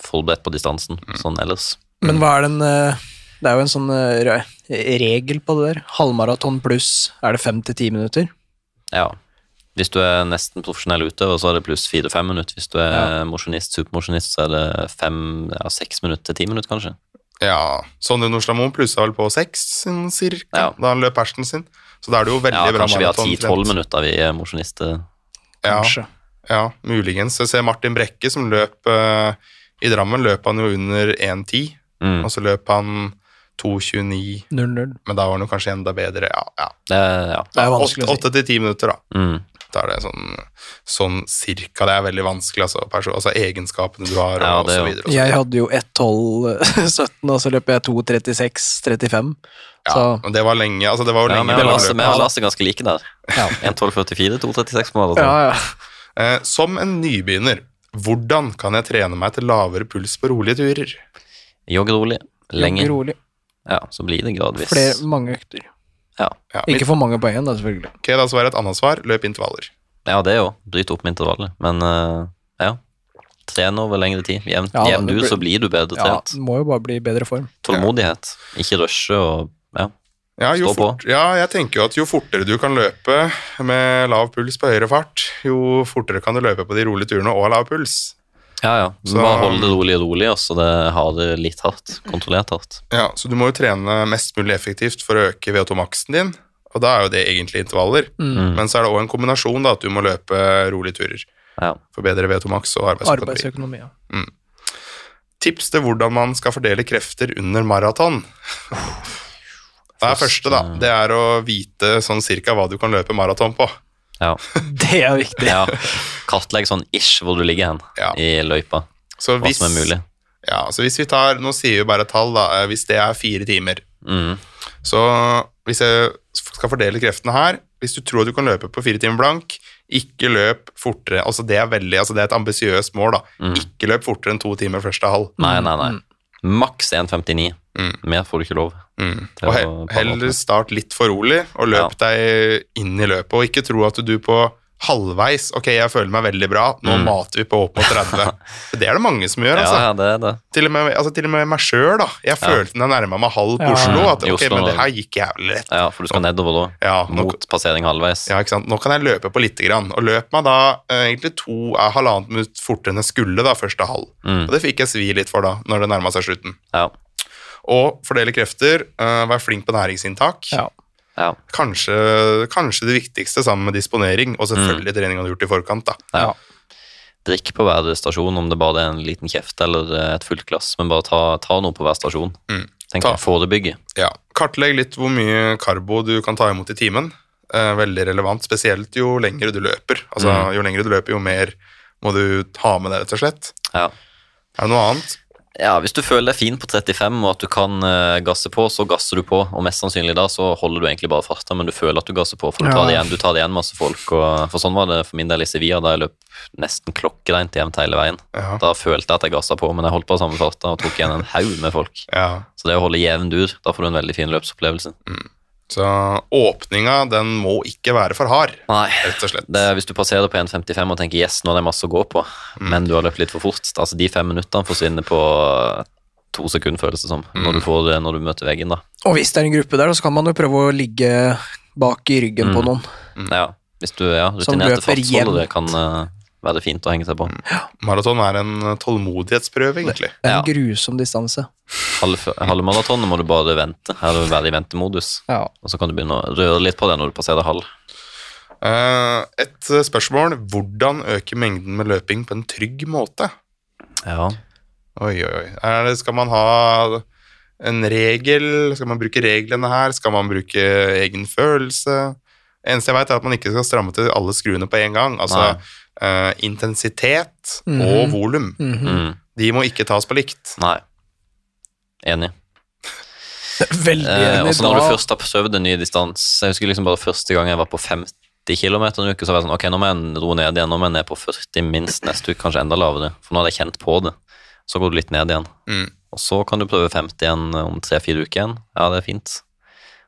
B: forberedt på distansen
A: Mm.
B: sånn ellers.
C: Men hva er den eh, Det er jo en sånn eh, re- regel på det der. Halvmaraton pluss er det fem til ti minutter?
B: Ja. Hvis du er nesten profesjonell utøver, så er det pluss fire-fem minutter. Hvis du er mosjonist, supermosjonist, så er det fem, ja, seks minutter til ti minutter, kanskje.
A: Ja, Sondre Nordstadmoen plussa vel på seks, sånn cirka,
B: Ja.
A: da han løp persen sin. Så da er det jo veldig
B: Ja,
A: bra
B: kanskje vi har
C: sånn
B: ti-tolv
A: maratontrent.
B: minutter, vi er mosjonister.
A: Ja,
C: Kanskje.
A: Ja, muligens. Jeg ser Martin Brekke som løp eh, I Drammen løp han jo under 1,10,
B: Mm.
A: og så løp han 2,29,
C: 0-0.
A: men da var han jo kanskje enda bedre. Ja, ja.
B: Det, er- ja.
C: Det er vanskelig å si.
A: 8 til 10 minutter, da.
B: Mm.
A: Da er det sånn, sånn cirka. Det er veldig vanskelig, altså. Perso altså egenskapene du har,
B: Ja,
A: og,
B: det
A: så
B: er jo-
A: videre. og så-
C: Jeg hadde jo [LAUGHS] 1.12,17, og så løp jeg 2.36,35. Så
A: Ja, men det var lenge. Altså, det var jo
B: Ja,
A: lenge
B: men jeg
A: det
B: og
A: var
B: Lasse,
A: løpet.
B: vi har Lasse ganske like der. [LAUGHS]
C: Ja.
B: 1.12,44, 2.36 på maraton.
C: ja, ja.
A: Eh, Som en nybegynner, hvordan kan jeg trene meg til lavere puls på rolige turer?
B: Jogg rolig. Lenge.
C: Jogg Rolig.
B: Ja, så blir det gradvis.
C: Flere, mange økter.
B: Ja.
A: Ja, mitt,
C: Ikke for mange på én, da, selvfølgelig.
A: ok, da svarer et annet svar. Løp intervaller.
B: ja, det jo. Bryt opp med intervallet. Men eh, ja. Tren over lengre tid. Jevnt
C: Ja,
B: jevn
C: det
B: du,
C: blir-
B: så blir du bedre
C: Ja,
B: trent.
C: må jo bare bli i bedre form.
B: Tålmodighet. Ikke rushe og ja.
A: Ja, jo
B: Stå på.
A: fort, ja, jeg tenker jo at jo fortere du kan løpe med lav puls på høyere fart, jo fortere kan du løpe på de rolige turene og ha lav puls.
B: Ja, ja.
A: Så-
B: Bare hold det rolig og rolig, og så det har det litt hardt. Kontrollert hardt.
A: Ja, Så du må jo trene mest mulig effektivt for å øke VO2-maksen din, og da er jo det egentlig intervaller.
B: Mm.
A: Men så er det òg en kombinasjon, da, at du må løpe rolige turer
B: Ja.
A: for bedre VO2-maks og arbeidsøkonomi.
C: Arbeidsøkonomi, ja. [LAUGHS]
A: Tips til hvordan man skal fordele krefter under
B: [LAUGHS]
A: maraton. Det er første, da. Det er å vite sånn cirka hva du kan løpe maraton på.
B: ja.
C: Det er viktig.
B: ja.
A: [LAUGHS]
B: Kartlegg sånn ish hvor du ligger hen
A: Ja.
B: i løypa.
A: Så
B: Hva som er mulig.
A: Ja, så hvis vi tar, nå sier vi bare tall da, eh, hvis det er fire timer,
B: Mm.
A: så hvis jeg skal fordele kreftene her, hvis du tror du kan løpe på fire timer blank, ikke løp fortere, altså det er veldig, altså det er et ambisiøst mål da,
B: Mm.
A: ikke løp fortere enn to timer første halv.
B: Nei, nei, nei. Maks 1,59.
A: Mm.
B: Mer får du ikke lov.
A: Mm.
B: Det
A: Og
B: var
A: he
B: på en måte.
A: heller start litt for rolig, og løp deg inn i løpet, og ikke tro at du på halvveis, ok, jeg føler meg veldig bra, nå mater vi på opp mot
B: [LAUGHS]
A: 30. det er det mange som gjør,
B: Mm. Ja,
A: altså.
B: ja, det er det.
A: Til og med, altså, til og med meg sjøl, da. Jeg følte når jeg nærma meg halv på
C: Ja.
A: Oslo. At
B: I
A: ok,
B: Oslo,
A: men det
B: da.
A: her gikk jævlig lett.
B: Ja, for du skal nedover da.
A: Ja, nå,
B: Mot passering halvveis.
A: ja, ikke sant. Nå kan jeg løpe på lite grann. Og løp meg da eh, egentlig to eh, halvannet minutt fortere enn jeg skulle da, første halv.
B: Mm.
A: Og det fikk jeg svi litt for da, når det nærma seg slutten.
B: Ja.
A: Og fordele krefter. eh, Vær flink på næringsinntak.
C: Ja.
B: Ja.
A: Kanskje, kanskje det viktigste sammen med disponering, og
B: Mm.
A: selvfølgelig treninga du har gjort i forkant. da.
B: Ja.
C: Ja.
B: Drikk på hver stasjon, om det bare er en liten kjeft eller eh, et fullt glass. Men bare ta, ta noe på hver stasjon.
A: Mm.
B: Tenk
A: Ta.
B: å forebygge.
A: Ja, Kartlegg litt hvor mye karbo du kan ta imot i timen. Eh, veldig relevant, spesielt jo lengre du løper. Altså, Jo lengre du løper, jo mer må du ha med deg, rett og slett.
B: Ja.
A: Er det noe annet?
B: ja, Hvis du føler deg fin på 35 og at du kan eh, gasse på, så gasser du på. Og mest sannsynlig da så holder du egentlig bare farta, men du føler at du gasser på. For du tar, det
C: Ja.
B: igjen, du tar det igjen masse folk. Og, for sånn var det for min del i Sevilla, da jeg løp nesten klokkereint jevnt hele veien.
A: Ja.
B: Da følte jeg at jeg gassa på, men jeg holdt på samme farta og tok igjen en haug med folk.
A: ja.
B: Så det å holde jevn dur, da får du en veldig fin løpsopplevelse.
A: Så åpninga, den må ikke være for hard,
B: Nei.
A: rett og slett.
B: Det er hvis du passerer på 1,55 og tenker yes, nå er det masse å gå på, men du har løpt litt for fort. Altså De fem minuttene forsvinner på to sekunder, føles det som, når, du får det, når du møter veggen. da.
C: Og hvis det er en gruppe der, så kan man jo prøve å ligge bak i ryggen på noen.
B: Ja, Hvis du ja,
C: Mm. Som
B: rutinerte
C: løper Mm.
B: fartsholdere kan eh, være fint å henge seg på.
A: Maraton er en tålmodighetsprøve, egentlig.
C: Det er
B: Ja.
C: en grusom distanse.
B: Halv- Halvmaratonet må du bare vente, eller være i ventemodus.
C: Ja.
B: Og så kan du begynne å røre litt på det når du passerer halv.
A: Eh, Et spørsmål hvordan øke mengden med løping på en trygg måte?
B: Ja.
A: Oi, oi, oi. Er det, skal man ha en regel? Skal man bruke reglene her? Skal man bruke egen følelse? Eneste jeg vet, er at man ikke skal stramme til alle skruene på en gang. Altså eh, intensitet og volum.
B: Mm.
A: De må ikke tas på likt.
B: Nei. Enig.
C: [LAUGHS] Veldig
B: Eh,
C: enig.
B: også når du
C: da-
B: først har prøvd en ny distanse Jeg husker liksom bare første gang jeg var på 50 km en uke, så var jeg sånn Ok, nå må jeg ro ned igjen. Nå må jeg ned på 40 minst neste uke, kanskje enda lavere. For nå hadde jeg kjent på det. Så går du litt ned igjen.
A: Mm.
B: Og så kan du prøve 50 igjen om tre-fire uker igjen. Ja, det er fint.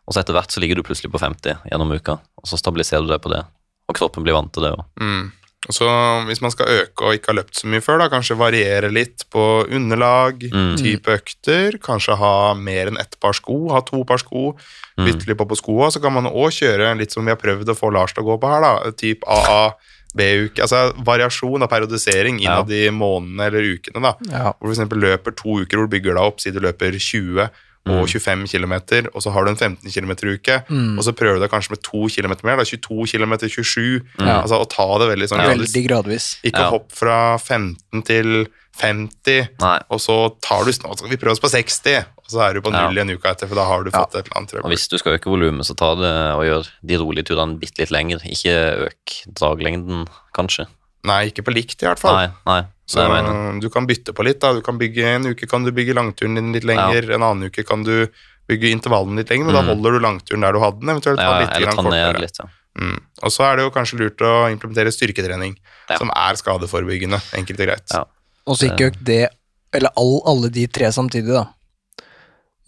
B: Og så etter hvert så ligger du plutselig på 50 gjennom uka, og så stabiliserer du deg på det. Og kroppen blir vant til det òg.
A: Mm. Og så Hvis man skal øke og ikke har løpt så mye før, da, kanskje variere litt på underlag,
B: Mm.
A: type økter. Kanskje ha mer enn ett par sko, ha to par sko. Bytte litt på på skoa. Så kan man òg kjøre litt som vi har prøvd å få Lars til å gå på her, da. Typ AA, B-uke. Altså variasjon av periodisering innad i månedene eller ukene, da.
C: ja.
A: Hvor du for eksempel løper to uker hvor du bygger deg opp, si du løper 20
B: Mm.
A: og 25 km, og så har du en 15 km-uke, og så prøver du deg kanskje med 2 km mer, da 22 km, 27
C: Ja.
A: Altså å ta det veldig sånn gradvis.
C: Veldig gradvis.
A: Ikke
B: Ja.
A: hopp fra 15 til 50,
B: Nei.
A: og så tar du Nå skal vi prøve oss på 60, og så er du på
B: Ja.
A: null igjen uka etter, for da har du fått et eller annet
B: Og
A: trøbbel.
B: hvis du skal øke volumet, så ta det og gjør de rolige turene bitte litt lenger. Ikke øk draglengden, kanskje.
A: Nei, ikke på likt i hvert fall.
B: Nei, nei.
A: Så
B: det er jeg mener.
A: du kan bytte på litt. da, du kan bygge En uke kan du bygge langturen din litt lenger, en annen uke kan du bygge intervallen litt lenger, men da holder du langturen der du hadde den, eventuelt ta
B: Mm. Ja,
A: litt
B: eller
A: grann
B: ta ned
A: kortere.
B: litt, ja.
A: Mm. Og så er det jo kanskje lurt å implementere styrketrening,
B: Ja.
A: som er skadeforebyggende, enkelt og greit.
B: Ja.
C: Og så ikke øk det, eller all, alle de tre samtidig, da.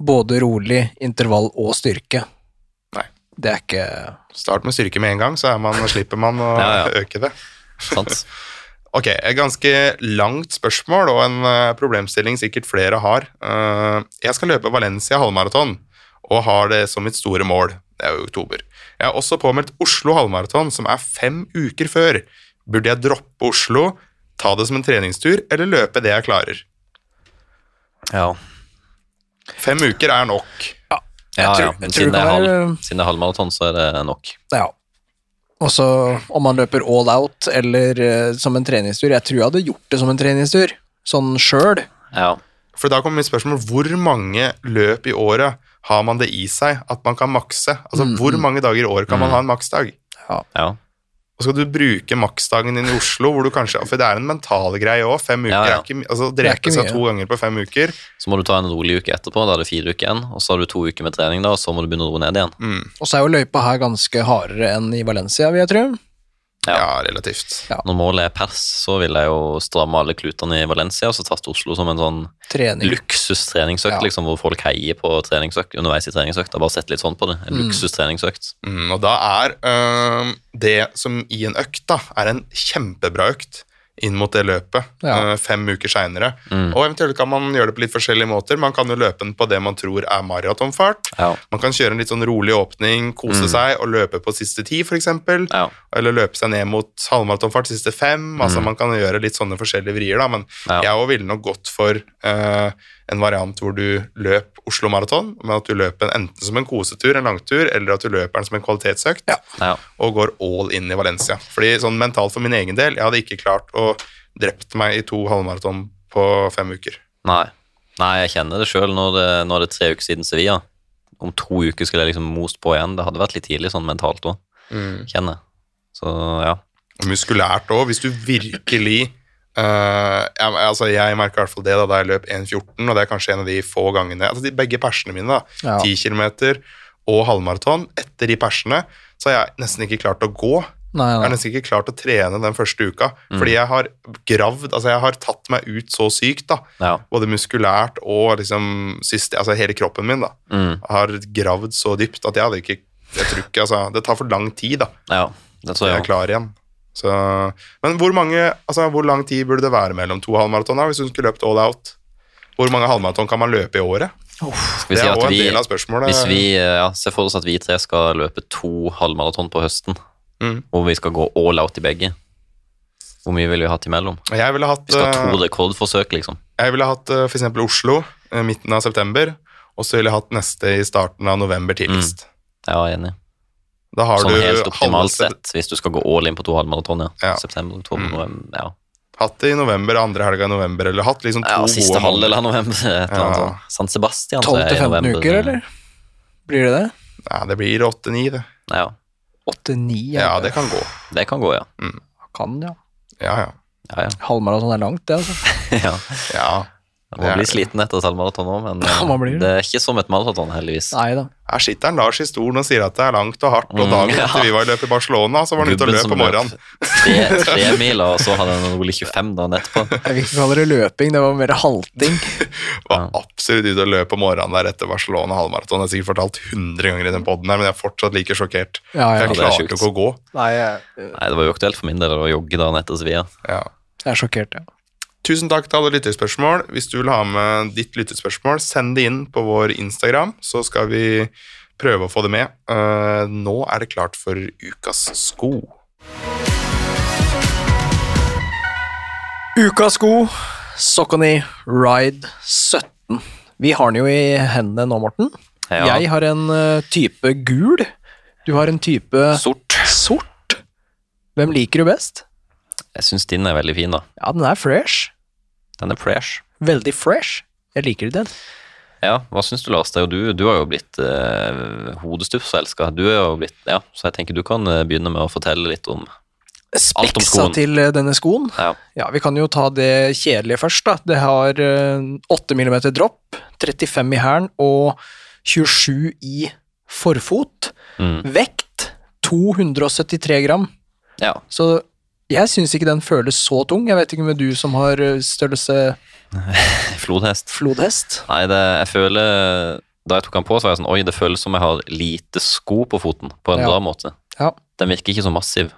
C: Både rolig, intervall og styrke.
A: Nei.
C: Det er ikke
A: Start med styrke med en gang, så er man, slipper man å
B: Ja, ja.
A: øke det.
B: Sant?
A: Ok, et ganske langt spørsmål og en eh, problemstilling sikkert flere har. Eh, jeg skal løpe Valencia halvmaraton og har det som mitt store mål. Det er jo i oktober. Jeg har også påmeldt Oslo halvmaraton, som er fem uker før. Burde jeg droppe Oslo, ta det som en treningstur, eller løpe det jeg klarer?
B: Ja.
A: Fem uker er nok.
B: Ja,
C: tror-
B: ja.
C: jeg
B: Men
C: tror det
B: siden det er
C: kan være-
B: halv- siden det er halvmaraton, så er det nok.
C: Ja. Og så om man løper all out eller eh, som en treningstur. Jeg tror jeg hadde gjort det som en treningstur, sånn sjøl.
B: Ja.
A: For da kommer mitt spørsmål hvor mange løp i året har man det i seg at man kan makse? Altså hvor mange dager i året kan man ha en maksdag?
B: ja.
A: Og skal du bruke maksdagen din i Oslo, hvor du kanskje For det er en mental greie òg. Fem uker
B: Ja, ja.
A: er ikke mye. Altså, å
C: er
A: drepe
C: ikke
A: seg
C: mye.
A: to ganger på fem uker
B: Så må du ta en rolig uke etterpå, da er det fire uker igjen. Og så har du to uker med trening, da, og så må du begynne å roe ned igjen.
A: mm,
C: Og så er jo løypa her ganske hardere enn i Valencia, vil jeg tro.
A: ja.
B: Ja.
A: relativt.
C: Ja.
B: Når målet er pers, så vil jeg jo stramme alle klutene i Valencia, og så tatt Oslo som en sånn
C: Trening.
B: luksustreningsøkt,
C: Ja.
B: liksom, hvor folk heier på treningsøkt underveis i treningsøkta. Bare sett litt sånn på det. En luksustreningsøkt.
A: Mm, og da er øhm, det som i en økt da, er en kjempebra økt inn mot det løpet
C: Ja.
A: øh, fem uker seinere.
B: Mm.
A: Og eventuelt kan man gjøre det på litt forskjellige måter. Man kan jo løpe den på det man tror er maratonfart.
B: Ja.
A: Man kan kjøre en litt sånn rolig åpning, kose seg og løpe på siste ti, f.eks.
B: Mm. Ja. Mm.
A: Eller løpe seg ned mot halvmaratonfart siste fem. Altså Man kan gjøre litt sånne forskjellige vrier, da. Men
B: Ja.
A: jeg òg ville nok gått for eh, en variant hvor du løp Oslo Maraton, men at du løper den enten som en kosetur, en langtur, eller at du løper den som en kvalitetsøkt,
B: ja.
A: og går all in i Valencia. Fordi sånn mentalt for min egen del, jeg hadde ikke klart å drept meg i to halvmaraton på fem uker.
B: Nei. Nei, jeg kjenner det sjøl. Nå, er det- nå er det tre uker siden Sevilla. Om to uker skulle jeg liksom most på igjen. Det hadde vært litt tidlig sånn mentalt òg,
A: Mm.
B: kjenner jeg. Så ja.
A: Og muskulært òg, hvis du virkelig eh, ja, men altså Jeg merker i hvert fall det da, da jeg løp 1,14, og det er kanskje en av de få gangene altså de Begge persene mine, da,
C: Ja.
A: 10 km og halvmaraton, etter de persene, så har jeg nesten ikke klart å gå.
C: Nei,
A: Jeg har
C: nei.
A: nesten ikke klart å trene den første uka, fordi jeg har gravd, altså jeg har tatt meg ut så sykt da,
B: Ja.
A: både muskulært og liksom syste- altså hele kroppen min da,
B: Mm.
A: har gravd så dypt at jeg hadde ikke, jeg tror ikke, altså det tar for lang tid da,
B: ja. Det tror
A: til jeg
B: jeg
A: er klar igjen. Så, men hvor mange, altså hvor lang tid burde det være mellom to halvmaratoner hvis hun skulle løpt all out? Hvor mange halvmaraton kan man løpe i året?
B: Skal vi
A: Det
B: si
A: er
B: at
A: også en
B: vi,
A: del av spørsmålet.
B: hvis vi eh, ja, ser for oss at vi tre skal løpe to halvmaraton på høsten,
A: Mm.
B: hvor vi skal gå all out i begge, hvor mye ville vi hatt imellom?
A: Jeg ville hatt,
B: Vi skal ha
A: eh,
B: to rekordforsøk, liksom.
A: Jeg ville hatt eh, for eksempel Oslo eh, midten av september, og så ville jeg hatt neste i starten av november tidligst.
B: Ja, jeg er enig.
A: Da har
B: Mm. Sånn
A: du
B: helt optimalt
A: halve-
B: sett, hvis du skal gå all in på to halvmaraton, ja.
A: Ja.
B: September, oktober,
A: Mm.
B: november, ja.
A: hatt det i november, andre helga i november, eller hatt liksom to
B: ja siste
A: gode
B: halvdel av november. Et eller annet
A: Ja.
B: sånt. San Sebastian så er i
C: 12-15
B: november.
A: sånn-
C: uker, eller? Blir det det?
A: Ja, det blir åtte-ni, det.
B: Ja,
C: 8-9?
A: Ja, det kan gå.
B: det kan gå, ja.
C: kan ja.
A: Ja, ja.
B: ja, ja.
C: Halvmaraton er langt, det, altså.
B: ja.
A: ja. Det
B: Man
A: er
B: blir
A: det.
B: sliten etter et halvmaraton òg, men
C: Ja, man blir
B: eh,
C: det.
B: det er ikke som et maraton, heldigvis.
C: Nei da.
A: Her sitter han Lars i stolen og sier at det er langt og hardt, og
B: Mm,
A: dagen
B: ja.
A: etter vi var i løp i Barcelona, så var han ute og
B: Gubben
A: løp
B: som
A: på morgenen.
B: tre, tre miler, og så hadde han rolig 25 dagen etterpå.
C: Jeg vil ikke kalle det løping, det var mer halting.
A: Var absolutt ute og løp på morgenen der etter Barcelona halvmaraton. Jeg har sikkert fortalt 100 ganger i den podden her, men jeg er fortsatt like sjokkert.
C: Ja, ja.
A: Jeg
B: det er
A: klarte
B: sjukt.
A: ikke å gå.
C: Nei, jeg,
B: Nei, det var jo aktuelt for min del å jogge dagen etter Sevilla.
A: Ja.
C: jeg er sjokkert, ja.
A: Tusen takk til alle lytterspørsmål. Hvis du vil ha med ditt lytterspørsmål, send det inn på vår Instagram, så skal vi prøve å få det med. Eh, nå er det klart for ukas sko.
C: Ukas sko, Socony Ride 17. Vi har den jo i hendene nå, Morten.
B: Ja.
C: Jeg har en eh, type gul. Du har en type
B: Sort.
C: sort. Hvem liker du best?
B: Jeg syns din er veldig fin, da.
C: Ja, den er fresh.
B: Den er fresh.
C: Veldig fresh. Jeg liker den.
B: Ja, hva syns du, Lars? Det er jo du, du har jo blitt eh, hodestufselska. Du er jo blitt Ja, så jeg tenker du kan eh, begynne med å fortelle litt om Alt om
C: Speksa
B: skoen.
C: til eh, denne skoen.
B: Ja.
C: Ja, Vi kan jo ta det kjedelige først. da. Det har eh, 8 mm dropp, 35 i hælen og 27 i forfot.
B: Mm.
C: Vekt 273 gram.
B: Ja.
C: Så jeg syns ikke den føles så tung. Jeg vet ikke med du som har eh, størrelse
B: Flodhest.
C: flodhest.
B: Nei, det, jeg føler Da jeg tok den på, så var jeg sånn Oi, det føles som jeg har lite sko på foten, på en
C: Ja.
B: bra måte.
C: Ja.
B: Den virker ikke så massiv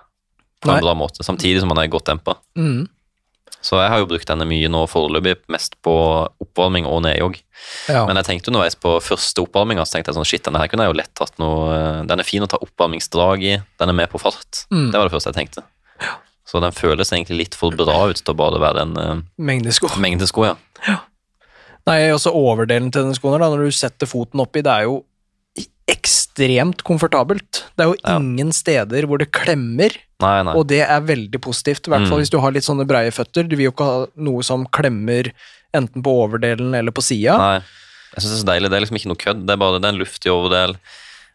B: på
C: Nei.
B: en bra måte, samtidig som den er godt dempa.
C: Mm.
B: Så jeg har jo brukt denne mye nå foreløpig, mest på oppvarming og nedjogg.
C: Ja.
B: Men jeg tenkte underveis på første oppvarminga, så tenkte jeg sånn shit, denne her kunne jeg jo lett tatt noe eh, Den er fin å ta oppvarmingsdrag i, den er med på fart.
C: Mm.
B: Det var det første jeg tenkte. Så den føles egentlig litt for bra ut til å bare være en eh,
C: Mengdesko.
B: mengdesko, ja.
C: Nei, også overdelen til denne skoen her, da, når du setter foten oppi, det er jo ekstremt komfortabelt. Det er jo
B: Ja.
C: ingen steder hvor det klemmer,
B: Nei, nei.
C: og det er veldig positivt. I hvert fall
B: Mm.
C: hvis du har litt sånne breie føtter. Du vil jo ikke ha noe som klemmer enten på overdelen eller på sida.
B: Nei. Jeg synes det er så deilig. Det er liksom ikke noe kødd. Det er bare det er en luftig overdel.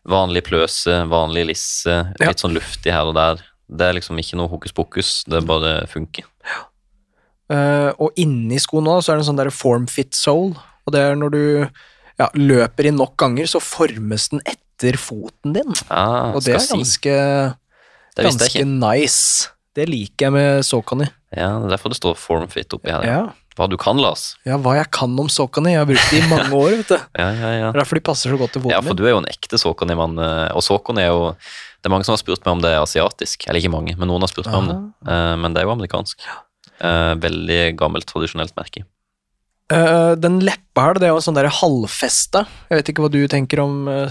B: Vanlig pløse, vanlig lisse.
C: Ja.
B: Litt sånn luftig her og der. Det er liksom ikke noe hokus pokus. Det bare funker.
C: Eh, og inni skoen nå så er det en sånn der form fit soul, og det er når du ja, løper inn nok ganger, så formes den etter foten din.
B: Ah,
C: Og det
B: skal
C: er
B: si.
C: ganske,
B: Det visste jeg
C: ganske
B: ikke.
C: nice. Det liker jeg med Sokani.
B: Ja, det er derfor det står formfit oppi her.
C: Ja.
B: Hva du kan, Lars.
C: ja, hva jeg kan om Sokani. Jeg har brukt det i mange år, vet du.
B: Ja, ja, ja.
C: Det er Derfor de passer så godt til foten
B: Ja, for
C: min.
B: du er jo en ekte Sokoni-mann, eh, og Sokoni er jo Det er mange som har spurt meg om det er asiatisk. Eller ikke mange, men noen har spurt meg om det.
C: Ah.
B: Eh, Men det er jo amerikansk. Eh, Veldig gammelt, tradisjonelt merke.
C: Eh, den leppa her, det er jo en sånn der halvfesta. Jeg vet ikke hva du tenker om, eh,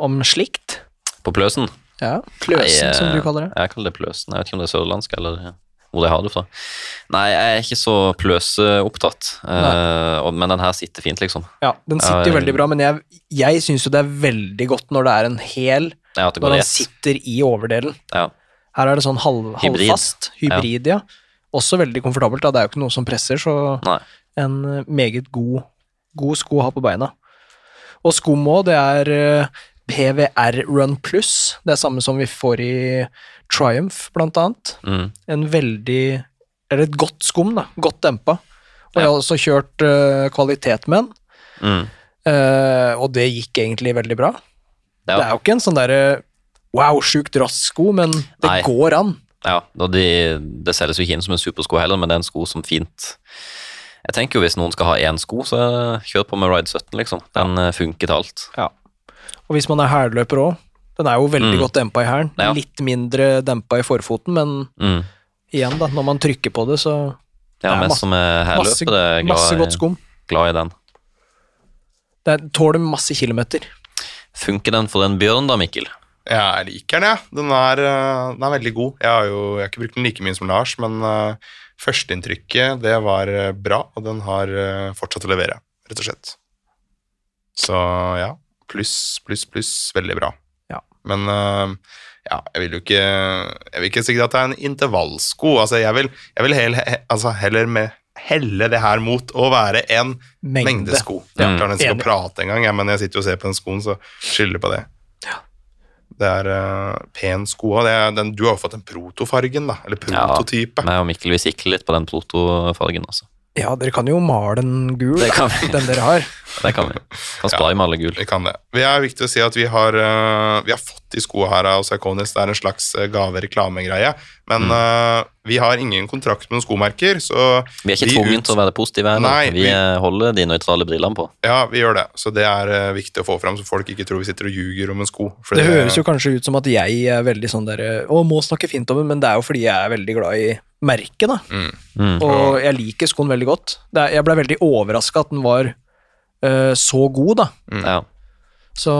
C: om slikt.
B: På pløsen
C: Ja, Kløsen,
B: Nei, eh,
C: som du kaller det.
B: Jeg kaller det pløsen. Jeg vet ikke om det er sørlandsk eller hvor jeg har det fra. Nei, jeg er ikke så pløseopptatt, eh, og- men den her sitter fint, liksom.
C: Ja, Den sitter jo
B: Ja,
C: veldig bra, men jeg, jeg syns jo det er veldig godt når det er en hel,
B: Ja, at det går
C: når
B: i
C: den
B: ett.
C: sitter i overdelen.
B: Ja.
C: Her er det sånn halv,
B: Hybrid.
C: halvfast, hybrid, ja. Også veldig komfortabelt, da. det er jo ikke noe som presser, så
B: Nei.
C: en eh, meget god, god sko å ha på beina. Og skum òg, det er eh, PVR Run Plus, det er samme som vi får i Triumph, blant annet.
B: Mm.
C: En veldig, eller et godt skum, da, godt dempa. Og
B: Ja.
C: jeg har også kjørt eh, kvalitet med den.
B: Mm.
C: Eh, og det gikk egentlig veldig bra.
B: Ja.
C: Det er jo ikke en sånn derre wow, sjukt rask sko, men det
B: Nei.
C: går an.
B: Ja, og de, det selges jo ikke inn som en supersko heller, men det er en sko som fint Jeg tenker jo hvis noen skal ha én sko, så kjør på med Ride 17, liksom. Den eh, funker til alt.
C: Og hvis man er hælløper òg, den er jo veldig
B: Mm.
C: godt dempa i hælen.
B: Ja.
C: Litt mindre dempa i forfoten, men
B: Mm.
C: igjen, da, når man trykker på det, så
B: Ja,
C: Det er
B: vi
C: masse-
B: som er
C: masse,
B: hærløpere, er
C: masse godt
B: glad, i-
C: skum.
B: glad i den.
C: Det er- tåler masse kilometer.
B: Funker den for en bjørn, da, Mikkel?
A: Jeg liker den, jeg. Den er, eh, den er veldig god. Jeg har jo jeg har ikke brukt den like mye som Lars, men eh, førsteinntrykket, det var eh, bra, og den har eh, fortsatt å levere, rett og slett. Så ja, pluss, pluss, pluss, veldig bra.
C: Ja.
A: Men eh, ja, jeg vil jo ikke Jeg vil ikke si at det er en intervallsko. Altså, jeg vil, jeg vil hel, he, altså, heller med, helle det her mot å være en
C: Mengde.
A: mengdesko.
B: Ja.
A: Jeg klarer nesten ikke å
C: Enig.
A: prate engang, jeg, men jeg sitter jo og ser på den skoen, så skylder på det. Det er eh, pen sko og det er den, Du har jo fått den protofargen, da. Eller
B: Ja.
A: prototype.
B: Meg og Mikkel vi sikler litt på den protofargen, altså.
C: Ja, dere kan jo male den gul,
B: Det
C: da,
B: kan vi.
C: den
B: [LAUGHS]
C: dere har.
B: Det kan vi. Kan spare med alle gul.
A: Vi kan det. Vi er viktig å si at vi har, eh, vi har fått de skoene her av Psychonis. Det er en slags eh, gave-reklame-greie.
B: Mm.
A: Men eh, vi har ingen kontrakt med noen skomerker, så
B: Vi er ikke tvunget til å være positive
A: Nei,
B: heller. Vi
A: vi-
B: eh, holder de nøytrale brillene på.
A: Ja, vi gjør det. Så det er eh, viktig å få fram, så folk ikke tror vi sitter og ljuger om en sko. for
C: Det høres jo kanskje ut som at jeg er veldig sånn derre Å, må snakke fint om den, men det er jo fordi jeg er veldig glad i merket, da.
A: Mm.
B: Mm.
C: Og jeg liker skoen veldig godt. Det er, jeg ble veldig overraska at den var eh, så god, da.
A: Mm.
B: Ja.
C: Så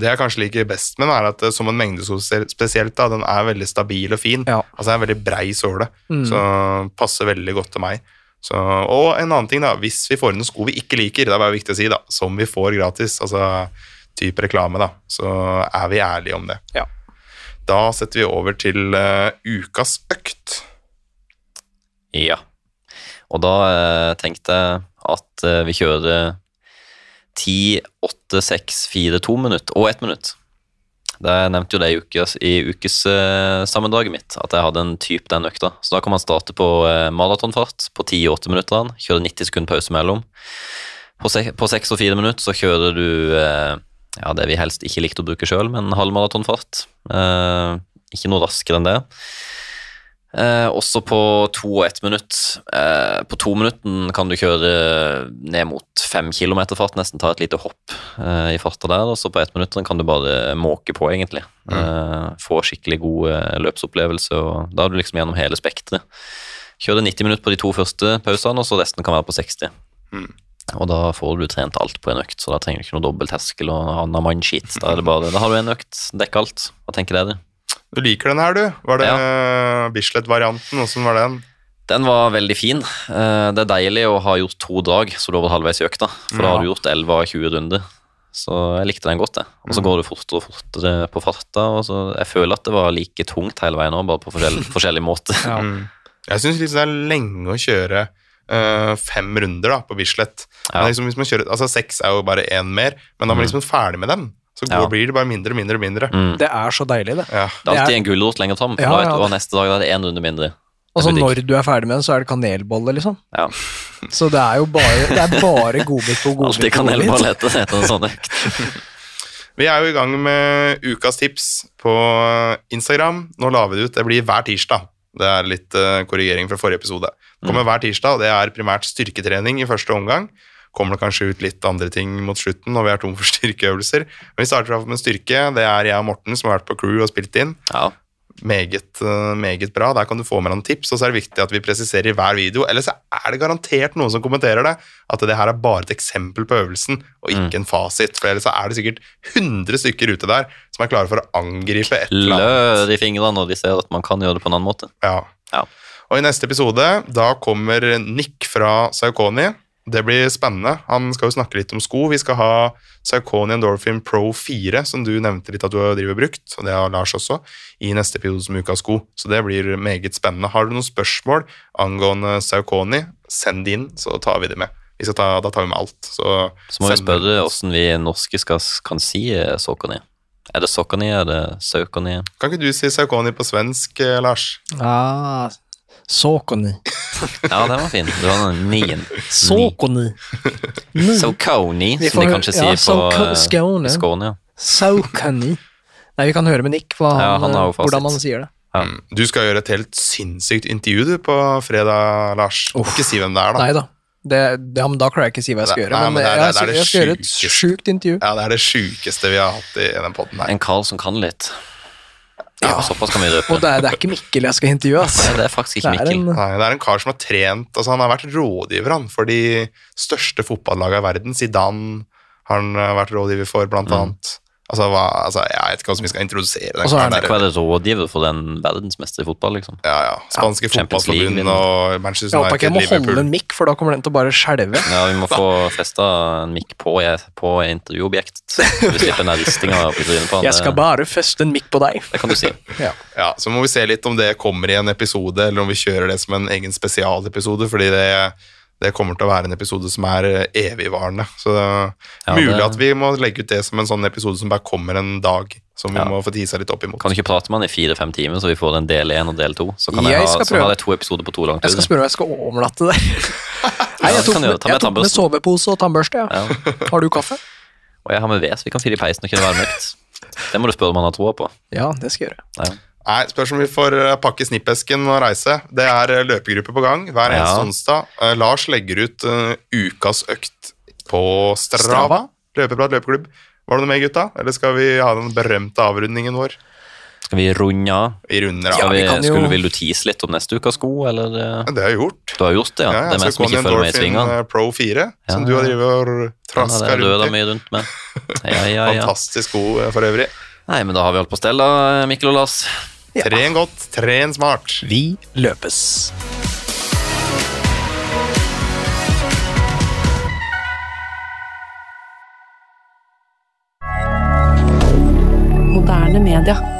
A: Det jeg kanskje liker best med den, er at eh, som en mengdesko sel- spesielt, da, den er veldig stabil og fin.
C: Ja.
A: Altså det er en veldig brei såle,
C: Mm.
A: så passer veldig godt til meg. Så, og en annen ting, da. Hvis vi får inn noen sko vi ikke liker, det er bare viktig å si, da, som vi får gratis, altså type reklame, da, så er vi ærlige om det.
C: Ja.
A: Da setter vi over til eh, ukas økt.
B: Ja. Og da eh, tenkte jeg at eh, vi kjører eh, 10, 8, 6, 4, 2 minutt og 1 minutt. Det jeg nevnte jo det i ukes, i ukes eh, sammendraget mitt, at jeg hadde en typ den økta. Så da kan man starte på eh, maratonfart på 10 og 8 minutter, kjøre 90 sekunder pause mellom. På, se, på 6 og 4 minutter så kjører du eh, ja, det vi helst ikke likte å bruke sjøl, men halvmaratonfart. Eh, ikke noe raskere enn det. Eh, også på to og ett minutt. Eh, på to minutten kan du kjøre ned mot fem kilometer fart, nesten ta et lite hopp eh, i farta der. Og så på ett minutt kan du bare måke på, egentlig. Eh, få skikkelig god eh, løpsopplevelse, og da er du liksom gjennom hele spekteret. Kjøre 90 minutter på de to første pausene, og så resten kan være på 60.
A: Mm.
B: Og da får du trent alt på en økt, så da trenger du ikke noe dobbeltterskel og annen mannskit. Da, er det bare- da har du en økt, dekk alt. Hva tenker dere?
A: Du liker den her, du. Var det eh, Bislett-varianten? Åssen var den?
B: Den var veldig fin. Eh, Det er deilig å ha gjort to drag, så du er over halvveis i økta. For da har du gjort 11 av 20 runder. Så jeg likte den godt, jeg. Og
C: Mm.
B: så går du fortere og fortere på farta. Og så jeg føler at det var like tungt hele veien òg, bare på
C: [LAUGHS]
B: forskjell, forskjellig måte.
C: ja.
A: Mm. Jeg syns liksom det er lenge å kjøre eh, fem runder da, på Bislett.
B: Ja. Mm.
A: Men liksom hvis man kjører, altså Seks er jo bare én mer, men da er man liksom ferdig med den. Så går,
B: Ja.
A: blir det bare mindre og mindre og mindre.
B: Mm.
C: det er så deilig, det.
A: Ja.
B: Det er alltid en gulrot lenger fram. for
C: Ja,
B: da vet
C: ja.
B: du, «Å, neste dag da er det én runde mindre. Det
C: Altså
B: blir digg.
C: når du er ferdig med den, så er det kanelbolle, liksom.
B: Ja.
C: Så det er jo bare, det er bare godbit på godbit.
B: Alltid
C: på
B: kan
C: godbit.
B: bare lete etter en sånn økt.
A: Vi er jo i gang med ukas tips på Instagram. Nå la vi det ut. Det blir hver tirsdag. Det er litt eh, korrigering fra forrige episode. Det
B: Mm.
A: kommer hver tirsdag, og det er primært styrketrening i første omgang. Kommer det kanskje ut litt andre ting mot slutten når vi er tom for [LAUGHS] styrkeøvelser. Men vi starter i hvert fall med styrke. Det er jeg og Morten som har vært på crew og spilt inn.
B: Ja.
A: Meget, eh, meget bra. Der kan du få med noen tips, og så er det viktig at vi presiserer i hver video. Ellers så er det garantert noen som kommenterer det, at det her er bare et eksempel på øvelsen, og ikke en fasit. For ellers så er det sikkert 100 stykker ute der som er klare for å angripe et eller annet.
B: Lør i fingrene når de ser at man kan gjøre det på en annen måte.
A: Ja.
B: Ja.
A: Og i neste episode, da kommer Nick fra Saukoni. Det blir spennende. Han skal jo snakke litt om sko. Vi skal ha Saukoni Endorphin Pro 4, som du nevnte litt at du driver brukt, og det har Lars også, i neste episode som ukas sko. Så det blir meget spennende. Har du noen spørsmål angående Saukoni, send de inn, så tar vi det med. Vi skal ta, da tar vi med alt. Så,
B: Så må vi
A: send-
B: spørre åssen vi norske skal, kan si eh, Sokoni. Er det Sokoni, er det Saukoni?
A: Kan ikke du si Saukoni på svensk, eh, Lars?
C: Ah, såkoni.
B: Ja, den var fin. Du har den nien.
C: Såkoni.
B: Soconi,
C: Vi
B: som de
C: Mm. får-
B: kanskje
C: ja,
B: sier på
C: Sauco-
B: eh,
C: Skåne.
B: Skåne. ja.
C: Såkoni. Nei, vi kan høre med Nick hva
B: Ja,
C: han,
B: han har jo
C: eh, hvordan
B: fasit.
C: han sier det.
B: Ja.
A: Mm. Du skal gjøre et helt sinnssykt intervju du, på fredag, Lars. Du må Ikke si hvem det er, da.
C: Nei da. Det, det, ja, men da klarer jeg ikke si hva jeg skal
A: Nei,
C: gjøre.
A: nei,
C: men
A: men det er-
C: jeg,
A: det er det
C: jeg skal gjøre et
A: sjukeste.
C: sjukt intervju.
A: Ja, det er det sjukeste vi har hatt i den poden her.
B: En Carl som kan litt. Ja, såpass kan vi
C: Ah. Og
B: røpe.
C: det er, det er ikke Mikkel jeg skal intervjue, altså.
B: Nei, det er faktisk
C: Det
B: ikke
C: er
B: Mikkel.
C: en,
A: Nei, det er en kar som har trent altså Han har vært rådgiver han, for de største fotballagene i verden. Zidane har han eh, vært rådgiver for, blant annet. Altså, hva, altså, jeg vet ikke hvordan vi skal introdusere den
C: Mm. Og så er
A: karen
B: Hva
A: der.
B: er det rådgiver for den verdensmester i fotball, liksom?
A: Ja, ja. Spanske
B: Champions
A: fotballforbund
B: League-vinner.
A: og Manchester
C: jeg håper ikke
A: United,
C: jeg må holde
A: Liverpool.
C: en mikk, for da kommer den til å bare skjelve.
B: Ja, vi må få festa en mikk på, på intervjuobjektet. Så vi slipper den der ristinga opp i trynet på han.
C: Jeg skal
B: Det,
C: bare feste en mikk på deg.
B: det kan du si.
C: Ja.
A: Ja, så må vi se litt om det kommer i en episode, eller om vi kjører det som en egen spesialepisode, fordi det, det kommer til å være en episode som er eh, evigvarende. Så det er
B: Ja,
A: mulig
B: det-
A: at vi må legge ut det som en sånn episode som bare kommer en dag, som vi
B: Ja.
A: må få tisa litt opp imot.
B: Kan du ikke prate med han i fire-fem timer, så vi får en del én og del to? Så kan jeg,
C: Jeg
B: ha,
C: skal
B: så har
C: prøve.
B: jeg to episoder på to langt
C: Jeg skal spørre om jeg skal overnatte der.
B: Ja,
C: [LAUGHS] Nei, jeg
B: det kan du gjøre.
C: tok med,
B: Ta med
C: jeg tok med
B: tannbørsten.
C: sovepose og tannbørste. Ja.
B: Ja.
C: Har du kaffe?
B: Og jeg har med ved, så vi kan fyre i peisen og kunne varme ut. Det må du spørre om han har troa på.
C: Ja, det skal jeg gjøre.
B: Ja.
A: Nei, spørs om vi får eh, pakke snippesken og reise. Det er eh, løpegruppe på gang hver
B: Ja.
A: eneste onsdag. Eh, Lars legger ut eh, ukas økt på Strava.
C: Strava.
A: Løpeprat løpeklubb. Var det noe mer, gutta? Eller skal vi ha den berømte avrundingen vår?
B: Skal vi runde av?
A: Vi runder
B: Skal
A: av.
B: vi,
C: vi kan jo-
B: skulle, vil du tease litt om neste ukas sko, eller? eh?
A: Ja, Det har vi gjort.
B: Du har gjort det, ja.
A: Ja, ja,
B: det er meg som
A: Saucony
B: ikke følger med i
A: Endorphin,
B: svingene.
A: eh, Pro 4, som
B: Ja,
A: du har
B: ja.
A: drevet og
B: Den er
A: traska
B: det røda
A: rundt i.
B: mye rundt
A: [LAUGHS]
B: med. Ja, ja, ja.
A: Fantastisk god eh, for øvrig.
B: Nei, men da har vi alt på stell, da, Mikkel og Lars.
C: Ja.
A: Tren godt, tren smart.
C: Vi løpes.
D: Moderne media.